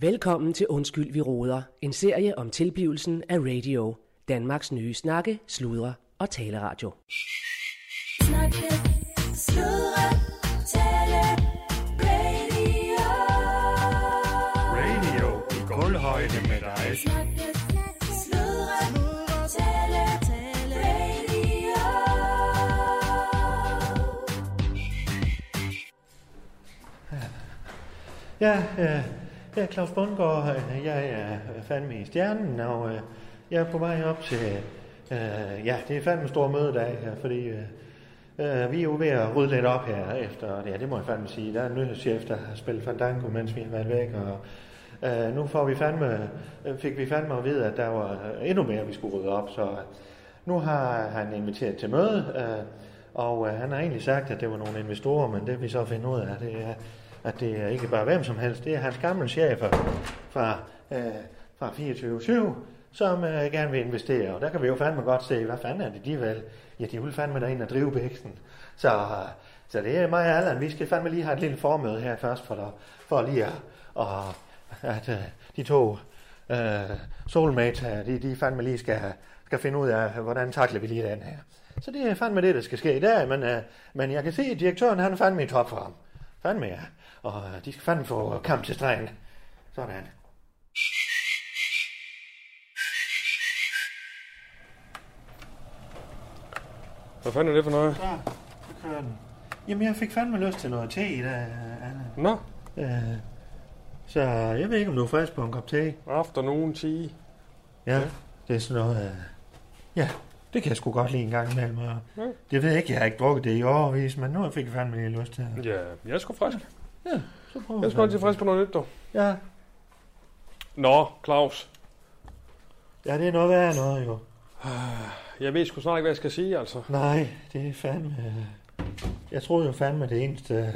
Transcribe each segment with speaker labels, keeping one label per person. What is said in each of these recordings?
Speaker 1: Velkommen til Undskyld, vi råder. En serie om tilblivelsen af radio. Danmarks nye snakke, sludre og taleradio.
Speaker 2: Snakke, sludre, tale, radio.
Speaker 3: Radio i gulvhøjde med dig.
Speaker 2: Snakke, sludre, tale, tale, radio.
Speaker 4: Ja, øh, jeg er Claus Bundgaard. øh, Jeg er fandme i stjernen, og øh, jeg er på vej op til... Øh, ja, det er fandme stor mødedag her, fordi øh, øh, vi er jo ved at rydde lidt op her efter... Ja, det må jeg fandme sige. Der er en nyhedschef, der har spillet Fandango, mens vi har været væk, og... Øh, nu får vi fandme, øh, fik vi fandme at vide, at der var øh, endnu mere, vi skulle rydde op, så nu har han inviteret til møde, øh, og øh, han har egentlig sagt, at det var nogle investorer, men det vi så finder ud af, det er, at det er ikke bare hvem som helst, det er hans gamle chefer fra, øh, fra 24-7, som øh, gerne vil investere. Og der kan vi jo fandme godt se, hvad fanden er det de vil? Ja, de vil fandme derind og drive bæksten. Så, øh, så det er mig og Allan, vi skal fandme lige have et lille formøde her først, for, der, for lige at, og, at øh, de to øh, soulmates her, de, de fandme lige skal, skal finde ud af, hvordan takler vi lige den her. Så det er fandme det, der skal ske i dag, men, øh, men jeg kan se, at direktøren han er fandme i topform. Fandme ja. Og øh, de skal fandme få kamp til stregen. Sådan.
Speaker 3: Hvad fanden er det for noget?
Speaker 4: Så, så kører den. Jamen, jeg fik fandme lyst til noget te i dag, Anna.
Speaker 3: Nå,
Speaker 4: Øh, så jeg ved ikke, om du er frisk på en kop te.
Speaker 3: afternoon tea.
Speaker 4: Ja, det er sådan noget... Øh, ja, det kan jeg sgu godt lide en gang imellem. Og
Speaker 3: Ja.
Speaker 4: det ved jeg ikke, jeg har ikke drukket det i årvis, men nu fik jeg fandme lige lyst til det.
Speaker 3: Ja, jeg er sgu frisk.
Speaker 4: Så prøver
Speaker 3: Jeg er
Speaker 4: vi
Speaker 3: sgu altid
Speaker 4: fandme.
Speaker 3: frisk på noget nyt, dog.
Speaker 4: Ja.
Speaker 3: Nå, Claus.
Speaker 4: ja, det er noget værd noget jo.
Speaker 3: Jeg ved sgu snart ikke, hvad jeg skal sige, altså.
Speaker 4: Nej, det er fandme... Jeg troede jo fandme det eneste, øh,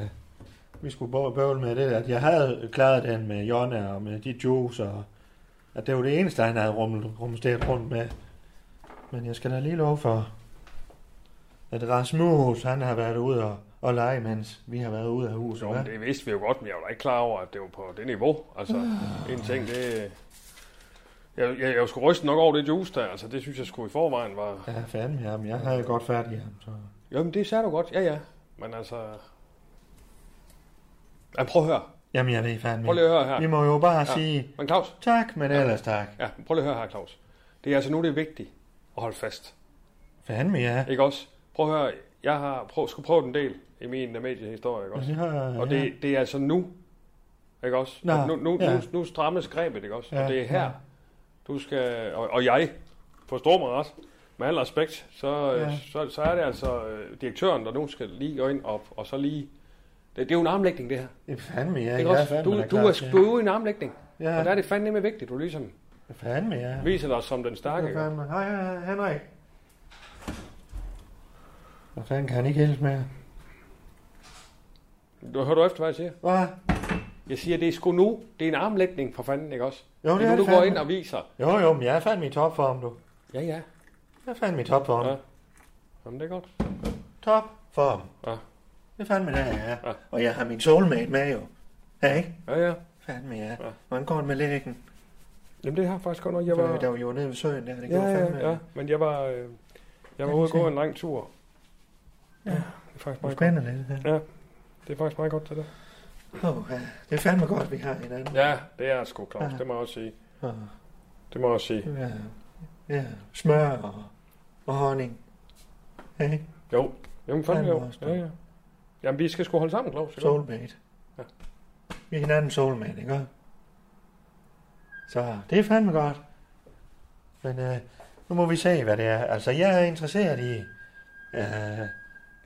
Speaker 4: vi skulle bå- bøvle med det, at jeg havde klaret den med Jonna og med de juice, og at det var det eneste, han havde rummel- rumsteret rundt med. Men jeg skal da lige love for, at Rasmus, han har været ude og, og lege, mens vi har været ude af huset.
Speaker 3: Jo,
Speaker 4: hva'?
Speaker 3: men det vidste vi jo godt, men jeg var da ikke klar over, at det var på det niveau. Altså, en ting, det... Jeg, jeg, jeg var sgu rysten nok over det juice der, altså det synes jeg sgu i forvejen var...
Speaker 4: Ja, fandme ham. Jeg havde godt fat i ham, så...
Speaker 3: Jamen det sagde du godt, ja ja. Men altså... Ja, prøv at høre.
Speaker 4: Jamen, jeg ved fandme.
Speaker 3: Prøv lige at høre
Speaker 4: Vi
Speaker 3: her.
Speaker 4: må jo bare
Speaker 3: Ja.
Speaker 4: ja. sige
Speaker 3: Men Claus,
Speaker 4: tak, men
Speaker 3: Ja.
Speaker 4: ellers tak.
Speaker 3: Ja, men prøv lige at høre her, Claus. Det er altså nu, det er vigtigt at holde fast.
Speaker 4: Fandme, ja.
Speaker 3: Ikke også? Prøv at høre, jeg har prøv, skulle prøve den del i min øh, mediehistorie, ikke også?
Speaker 4: Ja,
Speaker 3: Og
Speaker 4: Mhm. ja.
Speaker 3: det, det er altså nu, ikke også?
Speaker 4: Nå,
Speaker 3: nu, nu,
Speaker 4: ja.
Speaker 3: nu, nu strammes grebet, ikke også?
Speaker 4: Ja,
Speaker 3: Og det er her,
Speaker 4: ja.
Speaker 3: du skal, og, og jeg, forstår mig ret, med al respekt, så, øh,
Speaker 4: Ja.
Speaker 3: så, så er det altså øh, direktøren, der nu skal lige gå ind op, og så lige... Det, det er jo en armlægning, det her.
Speaker 4: Det er fandme, ja.
Speaker 3: Ikke
Speaker 4: jeg er
Speaker 3: også?
Speaker 4: fandme
Speaker 3: Du,
Speaker 4: da
Speaker 3: du,
Speaker 4: klar
Speaker 3: er,
Speaker 4: til-
Speaker 3: du er ude i en armlægning,
Speaker 4: Ja,
Speaker 3: og der er det fandeme vigtigt, du ligesom
Speaker 4: fandme, ja.
Speaker 3: viser dig som den stærke.
Speaker 4: Hvad
Speaker 3: ikke også?
Speaker 4: fanden? Hej, hej, Henrik. Hvad fanden kan han ikke hilse med?
Speaker 3: Du hører du efter, hvad jeg siger?
Speaker 4: Hvad?
Speaker 3: Jeg siger, det er sgu nu. Det er en armlægning for fanden, ikke også?
Speaker 4: Jo,
Speaker 3: det er nu, du går ind og viser.
Speaker 4: Jo, jo, men jeg er fandme i topform, du.
Speaker 3: Ja, ja.
Speaker 4: Jeg er fandme i topform.
Speaker 3: Ja.
Speaker 4: Ja.
Speaker 3: Jamen, det er godt.
Speaker 4: Topform.
Speaker 3: Ja.
Speaker 4: Det er fandme der, jeg er.
Speaker 3: Ja.
Speaker 4: Ja. Og jeg har min soulmate med, jo. Ja, ikke?
Speaker 3: Ja, ja.
Speaker 4: Fandme, ja.
Speaker 3: Ja.
Speaker 4: Hvordan går det med lægen?
Speaker 3: Jamen, det har faktisk godt nok. Jeg
Speaker 4: Jeg
Speaker 3: var...
Speaker 4: var... Der var jo nede ved søen der, det
Speaker 3: Ja,
Speaker 4: gjorde fandme.
Speaker 3: ja, ja. Men jeg var, øh, jeg var ude og gå en lang tur.
Speaker 4: Ja.
Speaker 3: Det er faktisk
Speaker 4: Du
Speaker 3: meget godt.
Speaker 4: spænder lidt. Ja.
Speaker 3: Det er faktisk meget godt, det der.
Speaker 4: Oh, ja. Det er fandme godt, vi har hinanden.
Speaker 3: Ja, det er sgu, Claus.
Speaker 4: Ja.
Speaker 3: Det må jeg også sige.
Speaker 4: Og,
Speaker 3: Det må jeg også sige.
Speaker 4: ja. ja. Smør og, og honning. Ja, ikke?
Speaker 3: Jo. Jamen, fandme
Speaker 4: Ja, det
Speaker 3: jo.
Speaker 4: må jeg også
Speaker 3: Ja, ja. Jamen, vi skal sgu holde sammen, Claus. ikke også?
Speaker 4: Soulmate. Ja.
Speaker 3: Ja.
Speaker 4: Vi er hinanden soulmate, ikke? også? Så det er fandme godt. Men øh, nu må vi se, hvad det er. Altså, jeg er interesseret i øh,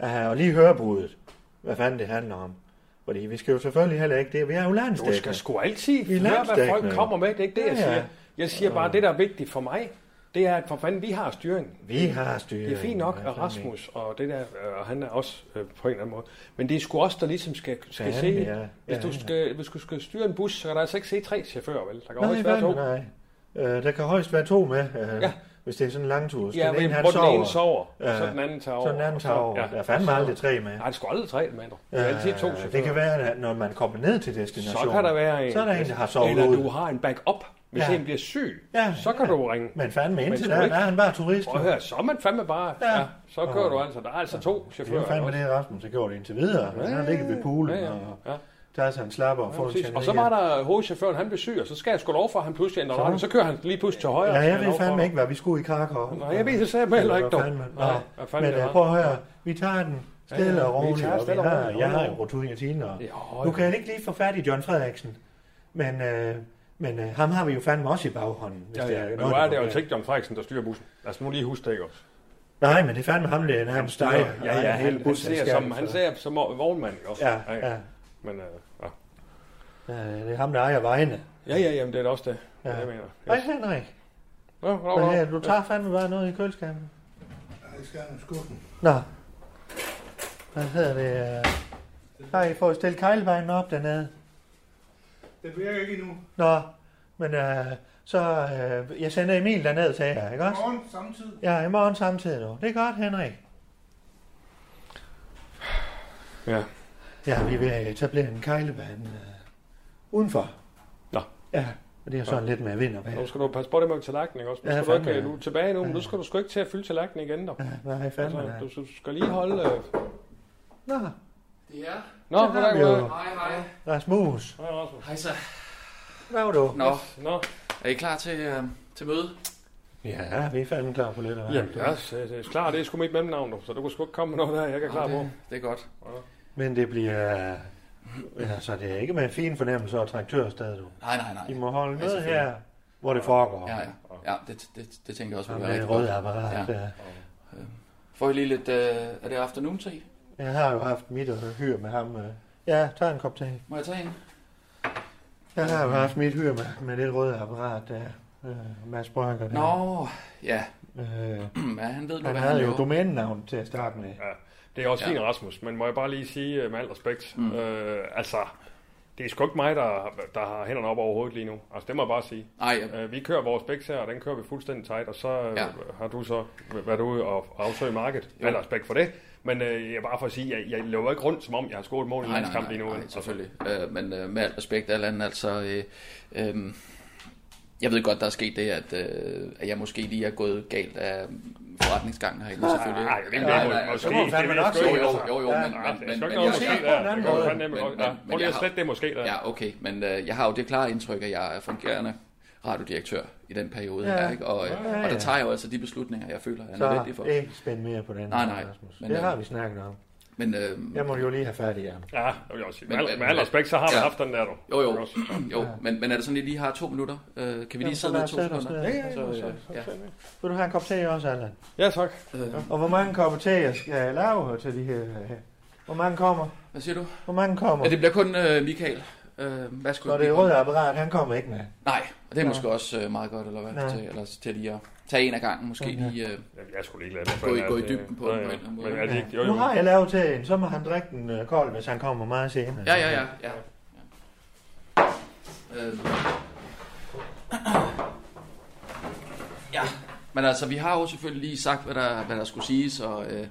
Speaker 4: øh, at lige høre budet. Hvad fanden det handler om. Fordi vi skal jo selvfølgelig heller ikke det. Vi er jo
Speaker 3: Du skal
Speaker 4: landstækkende.
Speaker 3: sgu altid
Speaker 4: Vi er
Speaker 3: høre, hvad
Speaker 4: landsdækkende,
Speaker 3: folk
Speaker 4: jo.
Speaker 3: kommer med. Det er ikke det, jeg
Speaker 4: Ja, ja.
Speaker 3: siger. Jeg siger bare, det, der er vigtigt for mig, det er, at for fanden, vi har styringen.
Speaker 4: Vi har styret.
Speaker 3: Det er fint nok, at Rasmus og det der, øh, og han er også øh, på en eller anden måde. Men det er sgu også, der ligesom skal, skal se. det.
Speaker 4: Ja,
Speaker 3: Hvis,
Speaker 4: ja,
Speaker 3: du
Speaker 4: ja.
Speaker 3: skal, hvis du skal styre en bus, så er der altså ikke C3-chauffører, vel? Der kan
Speaker 4: Nej,
Speaker 3: højst være
Speaker 4: fandme
Speaker 3: to.
Speaker 4: nej. Øh, der kan højst være to med. Øh,
Speaker 3: Ja.
Speaker 4: ja. Hvis det er sådan en langtur. så
Speaker 3: Ja, men
Speaker 4: han
Speaker 3: hvor den
Speaker 4: sover,
Speaker 3: ene sover,
Speaker 4: Ja.
Speaker 3: og så den anden tager over.
Speaker 4: så den anden
Speaker 3: og
Speaker 4: tager over.
Speaker 3: ja,
Speaker 4: Der er
Speaker 3: og
Speaker 4: fandme
Speaker 3: så-
Speaker 4: aldrig tre med.
Speaker 3: Nej, det skal aldrig tre mand. Det er altid to
Speaker 4: Øh, det
Speaker 3: chauffører.
Speaker 4: kan være, at når man kommer ned til
Speaker 3: Så
Speaker 4: destinationen,
Speaker 3: kan der være en,
Speaker 4: så er der en, der har sovet
Speaker 3: Eller
Speaker 4: ud.
Speaker 3: du har en backup. Hvis
Speaker 4: Ja.
Speaker 3: en bliver syg,
Speaker 4: Ja,
Speaker 3: så kan
Speaker 4: ja.
Speaker 3: du ringe.
Speaker 4: Men fandme indtil
Speaker 3: Men
Speaker 4: der,
Speaker 3: ikke-
Speaker 4: der er han bare turist.
Speaker 3: Prøv at høre, så er man fandme bare...
Speaker 4: Ja.
Speaker 3: Ja. så kører du altså. Der er altså to
Speaker 4: Det er
Speaker 3: chauffører.
Speaker 4: jo fandme
Speaker 3: også.
Speaker 4: det, Rasmus har gjort indtil videre. Han har ligget ved poolen
Speaker 3: Ja, ja.
Speaker 4: og
Speaker 3: ja.
Speaker 4: tager sig en slapper og
Speaker 3: Ja,
Speaker 4: får en
Speaker 3: præcis.
Speaker 4: tjene
Speaker 3: Og så var der hovedchaufføren, han blev syg, og så skal jeg sgu lov for, at han pludselig ændrer retning. Så kører han lige pludselig til højre.
Speaker 4: Ja,
Speaker 3: så
Speaker 4: jeg
Speaker 3: skal lov
Speaker 4: ved
Speaker 3: for
Speaker 4: fandme
Speaker 3: det.
Speaker 4: ikke, hvad vi skulle i Krakow.
Speaker 3: Nej, jeg ved det selv heller ikke, dog.
Speaker 4: Hvad fanden,
Speaker 3: Nej,
Speaker 4: nej.
Speaker 3: hvad fanden
Speaker 4: Men
Speaker 3: det
Speaker 4: øh,
Speaker 3: var.
Speaker 4: prøv at høre, vi tager den
Speaker 3: Ja,
Speaker 4: stille
Speaker 3: ja,
Speaker 4: og
Speaker 3: vi
Speaker 4: roligt.
Speaker 3: tager
Speaker 4: og vi
Speaker 3: stille og
Speaker 4: har-
Speaker 3: roligt,
Speaker 4: Jeg har
Speaker 3: roligt.
Speaker 4: jo rutiner. og-
Speaker 3: Jo,
Speaker 4: Nu kan jeg ikke lige få fat i John Frederiksen, men, øh, men øh, ham har vi jo fandme også i baghånden. Hvis
Speaker 3: Ja,
Speaker 4: det
Speaker 3: ja. Men
Speaker 4: noget,
Speaker 3: nu
Speaker 4: der
Speaker 3: er det
Speaker 4: går
Speaker 3: jo
Speaker 4: galt.
Speaker 3: altså ikke John Frederiksen, der styrer bussen. Altså nu lige husk det ikke også.
Speaker 4: Nej, men det er fandme ham, det er nærmest dig.
Speaker 3: ja, ja, han, han, ser som,
Speaker 4: busselskabet,
Speaker 3: han
Speaker 4: så-
Speaker 3: ser som vognmand, ikke også?
Speaker 4: Ja, ja.
Speaker 3: Men, øh, ja.
Speaker 4: Øh, Det er ham, der ejer vejene.
Speaker 3: ja, ja, jamen, det er da også det,
Speaker 4: Ja.
Speaker 3: ja. jeg mener.
Speaker 4: Nej,
Speaker 3: Yes.
Speaker 4: Henrik.
Speaker 3: Nå, nå, nå.
Speaker 4: Hvad her? Du tager fandme bare noget i køleskabet.
Speaker 5: Jeg skal have skuffen.
Speaker 4: Nå. Hvad hedder det? øh? Har I fået stillet kejlvejen op dernede?
Speaker 5: Det virker ikke endnu.
Speaker 4: Nå, men øh, så... Øh, jeg sender Emil derned, sagde jeg, ikke også?
Speaker 5: Morgen samtidig.
Speaker 4: Ja, i morgen samtidig nu. Det er godt, Henrik.
Speaker 3: Ja.
Speaker 4: Ja, vi er ved at etablere en kejlebane øh, udenfor.
Speaker 3: Nå.
Speaker 4: Ja, og det er sådan lidt med vind og
Speaker 3: Nu
Speaker 4: vejr.
Speaker 3: skal du passe på det med tallerkenen, ikke også? Nu
Speaker 4: Ja,
Speaker 3: skal du ikke øh,
Speaker 4: fandme, ja.
Speaker 3: nu, er du tilbage nu, men nu
Speaker 4: Ja.
Speaker 3: skal du sgu ikke til at fylde tallerkenen igen, dog.
Speaker 4: Ja, Hvad har I fandme
Speaker 3: Altså,
Speaker 4: der?
Speaker 3: du, du skal lige holde... Øh...
Speaker 4: Nå,
Speaker 6: Ja,
Speaker 3: Nå,
Speaker 4: Så har
Speaker 3: goddag,
Speaker 4: vi jo-
Speaker 3: goddag.
Speaker 6: hej hej.
Speaker 4: Rasmus.
Speaker 3: Hej, Rasmus.
Speaker 6: Hej så.
Speaker 4: Hvad var du?
Speaker 6: Nå,
Speaker 3: Nå,
Speaker 6: er I klar til, øh, til møde?
Speaker 4: Ja, vi er fandme klar på lidt af
Speaker 3: jamen, ja, så det er klart, det er sgu mit mellemnavn, dog, så du kan sgu ikke komme med noget der, jeg ikke er klar
Speaker 6: Nå,
Speaker 3: på.
Speaker 6: det, det er godt.
Speaker 4: Men det bliver... Altså, det er ikke med en fin fornemmelse og traktørstedet, du.
Speaker 6: Nej, nej, nej.
Speaker 4: I må holde
Speaker 6: Ja,
Speaker 4: med
Speaker 6: selvfølgelig.
Speaker 4: her, hvor det foregår.
Speaker 6: Ja, ja. ja det, det, det tænker jeg også
Speaker 4: Og
Speaker 6: vil være
Speaker 4: med det
Speaker 6: rigtig
Speaker 4: røde
Speaker 6: godt.
Speaker 4: apparat. øh.
Speaker 6: Ja.
Speaker 4: Ja.
Speaker 6: Får I lige lidt... Øh, er det afternoon tea?
Speaker 4: Jeg har jo haft mit øh, hyr med ham. øh. Ja, tag en kop te.
Speaker 6: Må jeg tage en?
Speaker 4: Jeg har
Speaker 3: Mhm.
Speaker 4: jo haft mit hyr med, med det røde apparat der. Øh, Mads Brøkker. der.
Speaker 6: Nå, ja.
Speaker 4: Øh,
Speaker 6: oh, hmm, ja han ved nu,
Speaker 4: han
Speaker 6: hvad
Speaker 4: havde
Speaker 6: han
Speaker 4: jo
Speaker 6: laver.
Speaker 4: domænenavn til at starte med.
Speaker 3: Det er også
Speaker 6: Ja.
Speaker 3: fint, Rasmus, men må jeg bare lige sige øh, med al respekt,
Speaker 6: Mm.
Speaker 3: mm. øh, altså, det er sgu ikke mig, der, der har hænderne op over hovedet lige nu. Altså, det må jeg bare sige.
Speaker 6: Nej, jeg,
Speaker 3: Øh, vi kører vores bæks her, og den kører vi fuldstændig tight, og så øh,
Speaker 6: Ja.
Speaker 3: ja. har du så været ude og afsøge markedet. Med al respekt for det. Men øh, jeg er bare for at sige, jeg, jeg løber ikke rundt, som om jeg har skåret et mål i
Speaker 6: nej,
Speaker 3: en
Speaker 6: nej,
Speaker 3: kamp
Speaker 6: nej,
Speaker 3: lige nu.
Speaker 6: nej,
Speaker 3: Altså,
Speaker 6: selvfølgelig. Øh, men øh, med al respekt, Allan, altså... Øh, øh, jeg ved godt, der er sket det, at, øh, at jeg måske lige er gået galt af forretningsgangen herinde, selvfølgelig.
Speaker 3: Nej, Ah, det er
Speaker 6: Nej,
Speaker 3: må-
Speaker 6: nej,
Speaker 3: måske.
Speaker 4: så må man
Speaker 3: Det
Speaker 4: fandme
Speaker 3: ved jeg
Speaker 4: nok
Speaker 3: sgu
Speaker 4: sige,
Speaker 3: ikke,
Speaker 6: jo,
Speaker 3: altså.
Speaker 6: jo, jo,
Speaker 4: Ja,
Speaker 6: men,
Speaker 4: nej,
Speaker 6: men,
Speaker 3: Det er
Speaker 6: men,
Speaker 3: sgu
Speaker 6: men,
Speaker 3: ikke
Speaker 6: jeg
Speaker 3: noget,
Speaker 4: se
Speaker 3: måske
Speaker 4: det på en
Speaker 3: der.
Speaker 4: anden
Speaker 3: Det går
Speaker 4: måde.
Speaker 3: fandme
Speaker 6: Men-
Speaker 3: godt.
Speaker 6: men-
Speaker 3: Ja,
Speaker 6: men
Speaker 3: Prøv lige
Speaker 6: jeg
Speaker 3: at
Speaker 6: har-
Speaker 3: slette det måske der.
Speaker 6: Ja, okay, men øh, jeg har jo det klare indtryk, at jeg er fungerende radiodirektør i den periode
Speaker 4: Ja.
Speaker 6: ja. her, ikke? Og, øh,
Speaker 4: Ja, ja.
Speaker 6: og der tager jeg jo altså de beslutninger, jeg føler er
Speaker 4: Så
Speaker 6: nødvendige for.
Speaker 4: ikke spænd mere på den.
Speaker 6: Nej, nej.
Speaker 4: Rasmus.
Speaker 6: Men,
Speaker 4: Det
Speaker 6: øh,
Speaker 4: har vi snakket om.
Speaker 6: Men øh,
Speaker 4: Jeg må jo lige have fat i ham.
Speaker 3: Ja, det vil jeg også sige. Med,
Speaker 6: Men-
Speaker 3: al-
Speaker 6: men-
Speaker 3: med al respekt, så har man
Speaker 6: ja.
Speaker 3: haft den der, du.
Speaker 6: Jo, jo.
Speaker 3: Ikke også?
Speaker 6: jo, men, men er det sådan, at I lige har to minutter? Øh, kan vi
Speaker 4: Jamen,
Speaker 6: lige
Speaker 4: så
Speaker 6: sidde
Speaker 4: lad
Speaker 6: ned
Speaker 4: os
Speaker 6: to
Speaker 4: sætte os
Speaker 6: sekunder?
Speaker 4: ned.
Speaker 6: Så, øh, ja.
Speaker 4: Vil du have en kop te også, Allan?
Speaker 3: Ja, tak.
Speaker 6: Øh,
Speaker 4: Og hvor mange kopper te, jeg skal lave til de her... øh, Hvor mange kommer?
Speaker 6: Hvad siger du?
Speaker 4: Hvor mange kommer?
Speaker 6: Ja, det bliver kun øh, Michael. Øh, hvad skulle
Speaker 4: Så det er røde apparat, han kommer ikke med.
Speaker 6: Nej, og det er
Speaker 4: Nå.
Speaker 6: måske også øh, meget godt, eller hvad?
Speaker 4: Nå.
Speaker 6: Til, eller til lige at tage en af gangen, måske
Speaker 4: Okay.
Speaker 6: lige... Øh,
Speaker 3: Jamen, Jeg skulle ikke lade det.
Speaker 6: Gå i- gå i dybden på den på en eller anden måde.
Speaker 3: Men er det ikke? Jo,
Speaker 4: Nu har
Speaker 3: jo.
Speaker 4: jeg lavet teen, så må han drikke den øh, kold, hvis han kommer meget senere.
Speaker 6: ja, ja, ja. ja. ja. Øh. ja. Men altså, vi har jo selvfølgelig lige sagt, hvad der, hvad der skulle siges, og øh,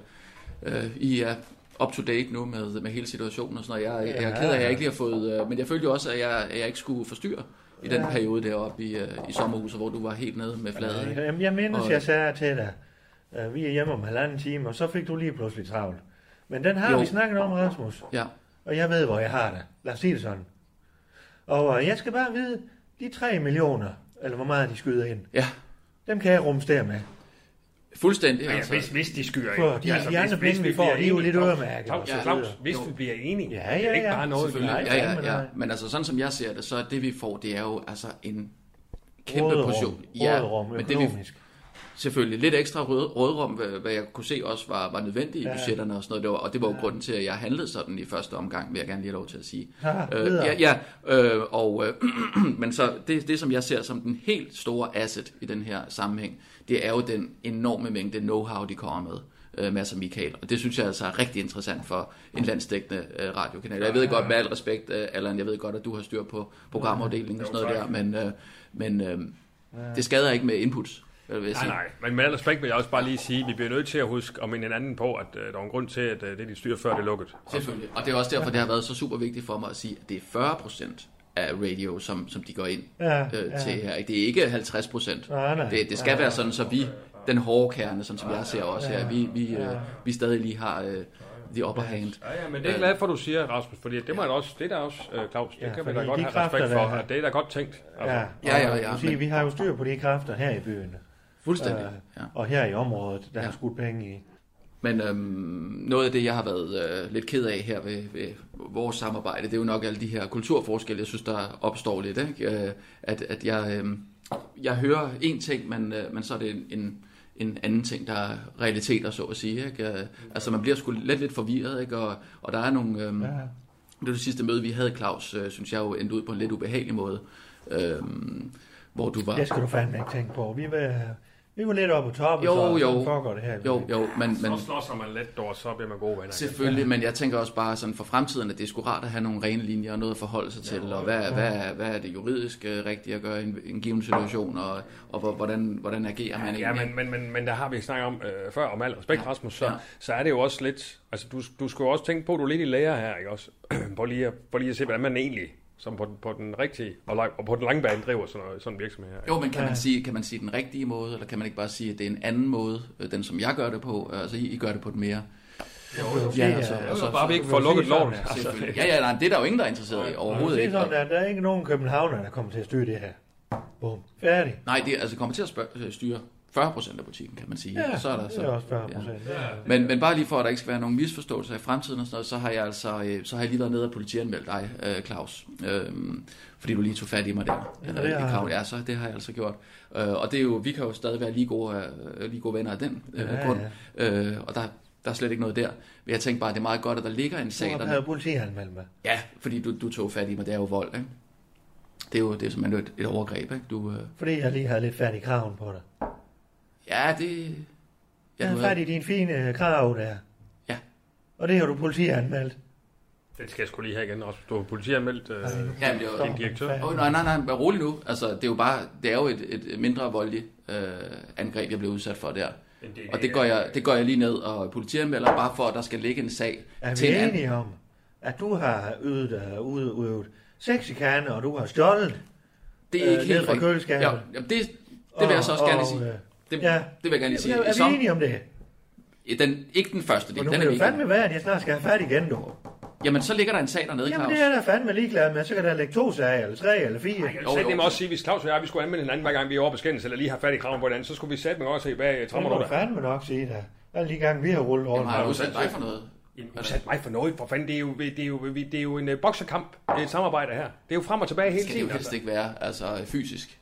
Speaker 6: øh, I er up to date nu med, med hele situationen og sådan noget. Jeg, jeg, jeg er ked af, at jeg ikke lige har fået... Øh, men jeg følte jo også, at jeg, at jeg ikke skulle forstyrre i den
Speaker 4: Ja.
Speaker 6: periode deroppe i, øh, i sommerhuset, hvor du var helt nede med fladet. ikke?
Speaker 4: Jamen, jeg mindes,
Speaker 6: Og-
Speaker 4: jeg sagde til dig, øh, vi er hjemme om halvanden time, og så fik du lige pludselig travlt. Men den har
Speaker 6: Jo.
Speaker 4: vi snakket om, Rasmus.
Speaker 6: Ja.
Speaker 4: Og jeg ved, hvor jeg har det. Lad os sige det sådan. Og øh, jeg skal bare vide, de 3 millioner, eller hvor meget de skyder ind,
Speaker 6: Ja,
Speaker 4: dem kan jeg rumstere med.
Speaker 6: fuldstændig. altså.
Speaker 3: Ja, hvis, hvis de skyer
Speaker 4: For de,
Speaker 3: altså,
Speaker 4: de andre penge, vi får, de er jo lidt øremærket. og
Speaker 3: Claus,
Speaker 4: så
Speaker 6: Ja.
Speaker 3: Claus,
Speaker 4: videre.
Speaker 3: hvis
Speaker 6: Jo.
Speaker 3: vi bliver enige,
Speaker 4: Ja,
Speaker 3: det er
Speaker 4: ja,
Speaker 3: ikke
Speaker 4: ja,
Speaker 3: bare noget, vi
Speaker 6: Selvfølgelig.
Speaker 4: Nej,
Speaker 6: Ja,
Speaker 4: fandme
Speaker 6: ja,
Speaker 4: nej.
Speaker 6: ja. Men altså, sådan som jeg ser det, så er det, vi får, det er jo altså en kæmpe
Speaker 4: Råderum,
Speaker 6: portion.
Speaker 4: øh, råderum
Speaker 6: men det vi
Speaker 4: økonomisk.
Speaker 6: selvfølgelig lidt ekstra rød, rådrum, hvad, hvad jeg kunne se også var, var nødvendigt i
Speaker 4: Ja.
Speaker 6: budgetterne og sådan noget. Det var, og det var jo grunden til, at jeg handlede sådan i første omgang, vil jeg gerne lige have lov til at sige.
Speaker 4: Ja,
Speaker 6: øh,
Speaker 4: videre.
Speaker 6: ja, ja øh, og, øh, men så det, det, som jeg ser som den helt store asset i den her sammenhæng, det er jo den enorme mængde know-how, de kommer med. Øh, Mads og Michael. Og det synes jeg altså er rigtig interessant for en landstækkende øh, radiokanal. Jeg ved godt, med al respekt, øh, Allan, jeg ved godt, at du har styr på programafdelingen og sådan noget der, men, øh, men øh, det skader ikke med inputs. Hvad vil jeg
Speaker 3: Nej,
Speaker 6: sige?
Speaker 3: nej. Men med al respekt vil jeg også bare lige sige, at vi bliver nødt til at huske om en anden på, at øh, der er en grund til, at øh, det, de styrer før, det er lukket.
Speaker 6: Selvfølgelig. Og det er også derfor, det har været så super vigtigt for mig at sige, at det er 40% af radio, som, som de går ind
Speaker 4: Ja,
Speaker 6: øh,
Speaker 4: ja.
Speaker 6: til her. ikke? Det er ikke 50 procent.
Speaker 4: Nej, nej.
Speaker 6: Det, det skal være sådan, så vi, den hårde kerne, sådan som jeg ser også her, vi, vi, øh, vi stadig lige har øh, the upper hand.
Speaker 3: Ja, ja, men det er jeg glad for, du siger, Rasmus, fordi det, må jeg også, det er der også, øh, Claus, det
Speaker 4: Ja,
Speaker 3: kan vi da
Speaker 4: fordi
Speaker 3: godt
Speaker 4: de
Speaker 3: have respekt
Speaker 4: kræfter,
Speaker 3: for,
Speaker 4: der er-
Speaker 3: at det er da godt tænkt. Altså,
Speaker 4: Ja,
Speaker 3: ja.
Speaker 6: Ja, ja, ja,
Speaker 4: og sige,
Speaker 6: men-
Speaker 4: vi har jo styr på de kræfter her i byen,
Speaker 6: Fuldstændig.
Speaker 4: øh,
Speaker 6: Ja.
Speaker 4: og her i området, der
Speaker 6: Ja.
Speaker 4: har skudt penge i.
Speaker 6: Men øhm, noget af det, jeg har været øh, lidt ked af her ved, ved vores samarbejde, det er jo nok alle de her kulturforskelle, jeg synes, der opstår lidt. Ikke? Øh, at, at jeg, øhm, jeg hører en ting, men, øh, men så er det en, en, en anden ting, der er realiteter, så at sige. Ikke? Øh, altså man bliver sgu lidt, lidt forvirret, ikke? Og, og der er nogle... Øhm,
Speaker 4: Ja.
Speaker 6: det var det sidste møde, vi havde, Claus, øh, synes jeg jo endte ud på en lidt ubehagelig måde. Øhm, hvor du var...
Speaker 4: Det skal du fandme ikke tænke på. Vi var, vi var lidt oppe på toppen,
Speaker 6: Jo,
Speaker 4: så
Speaker 6: jo.
Speaker 4: så foregår det her. i
Speaker 6: Jo,
Speaker 4: byen.
Speaker 6: jo, men, men,
Speaker 3: Så slåsser man let, dog, og så bliver man gode venner. igen.
Speaker 6: Selvfølgelig, men jeg tænker også bare sådan for fremtiden, at det er sgu rart at have nogle rene linjer og noget at forholde sig til, og hvad, hvad, er- hvad er det juridisk øh, rigtigt at gøre i en, en given situation, og, og hvor- hvordan, hvordan agerer man egentlig?
Speaker 3: Ja, men, men, men, men der har vi snakket om øh, før, om al respekt, ja. Rasmus, så,
Speaker 6: Ja.
Speaker 3: ja. så er det jo også lidt, altså du, du skal jo også tænke på, at du er lidt i lære her, ikke også? på, lige at, på lige at se, hvordan man egentlig, som på, den- på den rigtige, og, lang, og på den lange bane driver sådan, noget, sådan en virksomhed her. Ikke?
Speaker 6: Jo, men kan man, sige, kan man sige den rigtige måde, eller kan man ikke bare sige, at det er en anden måde, øh, den som jeg gør det på, altså I, I gør det på den mere?
Speaker 4: jo.
Speaker 6: ja,
Speaker 4: Det er-
Speaker 6: altså,
Speaker 4: det er
Speaker 6: og så,
Speaker 3: Bare vi ikke får
Speaker 4: jo
Speaker 3: lukket
Speaker 4: sige sådan,
Speaker 3: loven.
Speaker 4: ja.
Speaker 3: Altså,
Speaker 6: selvfølgelig. Ja, ja, nej, det er der jo ingen, der er interesseret i,
Speaker 4: Det
Speaker 6: overhovedet
Speaker 4: er
Speaker 6: ikke.
Speaker 4: sådan,
Speaker 6: Og-
Speaker 4: at der er ikke nogen københavner, der kommer til at styre det her. Bum. Færdig.
Speaker 6: Nej, det er- altså kommer til at spørge, styre 40% af butikken, kan man sige.
Speaker 4: Ja,
Speaker 6: Og så er der,
Speaker 4: det er også 40 procent. Ja.
Speaker 6: Men, men bare lige for, at der ikke skal være nogen misforståelser i fremtiden og sådan noget, så har jeg altså øh, så har jeg lige været nede og politianmeldt dig, øh, Claus. Øh, fordi du lige tog fat i mig der.
Speaker 4: Ja,
Speaker 6: Eller,
Speaker 4: det har
Speaker 6: i
Speaker 4: jeg.
Speaker 6: krav, ja, så det har jeg altså gjort. Øh, og det er jo, vi kan jo stadig være lige gode, øh, lige gode venner af den øh,
Speaker 4: Ja,
Speaker 6: grund. Øh, og der, der er slet ikke noget der. Men jeg tænkte bare, at det er meget godt, at der ligger en sag,
Speaker 4: Du
Speaker 6: der,
Speaker 4: har politianmeldt mig.
Speaker 6: Ja, fordi du, du tog fat i mig, det er jo vold, ikke? Det er jo det er simpelthen et, et overgreb, ikke? Du, øh,
Speaker 4: Fordi jeg lige havde lidt fat i kraven på dig.
Speaker 6: ja, det...
Speaker 4: Jeg
Speaker 6: Ja, du
Speaker 4: havde fat
Speaker 6: havde,
Speaker 4: i din fine øh, krav der.
Speaker 6: Ja.
Speaker 4: Og det har du politianmeldt.
Speaker 3: det skal jeg sgu lige have igen, Rasmus. Du har politianmeldt øh,
Speaker 6: ja, men det var,
Speaker 3: din direktør.
Speaker 6: Åh, oh, nej, nej, nej, vær rolig nu. Altså, det er jo bare, det er jo et, et mindre voldeligt øh, angreb, jeg blev udsat for der.
Speaker 3: det-
Speaker 6: Og det går, jeg, det går jeg lige ned og politianmelder, bare for, at der skal ligge en sag
Speaker 4: Er
Speaker 6: til
Speaker 4: vi
Speaker 6: en anden.
Speaker 4: enige om, at du har ydet, øh, udøvet sexikane, og du har stjålet?
Speaker 6: Det er
Speaker 4: Øh,
Speaker 6: ikke
Speaker 4: ned
Speaker 6: helt
Speaker 4: fra
Speaker 6: rigtigt.
Speaker 4: køleskabet.
Speaker 6: Ja, jamen, det, det vil jeg så også
Speaker 4: Og-
Speaker 6: gerne
Speaker 4: og,
Speaker 6: sige.
Speaker 4: øh,
Speaker 6: Det,
Speaker 4: ja.
Speaker 6: det vil jeg gerne lige sige.
Speaker 4: Er, er
Speaker 6: Som-
Speaker 4: vi enige om det?
Speaker 6: den, ikke den første
Speaker 4: Og
Speaker 6: del,
Speaker 4: nu
Speaker 6: den
Speaker 4: kan
Speaker 6: er
Speaker 4: det
Speaker 6: vi
Speaker 4: jo
Speaker 6: ikke. enige
Speaker 4: fandme være, at jeg snart skal have fat igen, du.
Speaker 6: om. Jamen, så ligger der en sag dernede,
Speaker 4: Jamen
Speaker 6: Claus.
Speaker 4: det er jeg da fandme ligeglad med. Så kan der lægge to sager, eller tre, eller fire.
Speaker 3: Jeg
Speaker 6: Jo,
Speaker 3: vil
Speaker 6: jo.
Speaker 3: sætte også sige, hvis Claus og jeg vi skulle anmelde hinanden, hver gang vi er over på skændelse, eller lige har fat i kraven på hinanden, så skulle vi sætte mig også se, hvad øh,
Speaker 4: det
Speaker 3: trammer
Speaker 4: må
Speaker 3: du
Speaker 4: du
Speaker 3: der?
Speaker 4: fandme nok sige da. Alle de gange, vi har rullet rundt.
Speaker 6: Jamen, har jeg
Speaker 4: Jamen,
Speaker 6: udsat dig for noget?
Speaker 3: Udsat mig for noget, for fanden, det er jo, det er jo, det er jo en øh, bokserkamp, det er et samarbejde her. Det er jo frem og tilbage hele
Speaker 6: skal det jo
Speaker 3: tiden.
Speaker 6: helst ikke være, altså fysisk.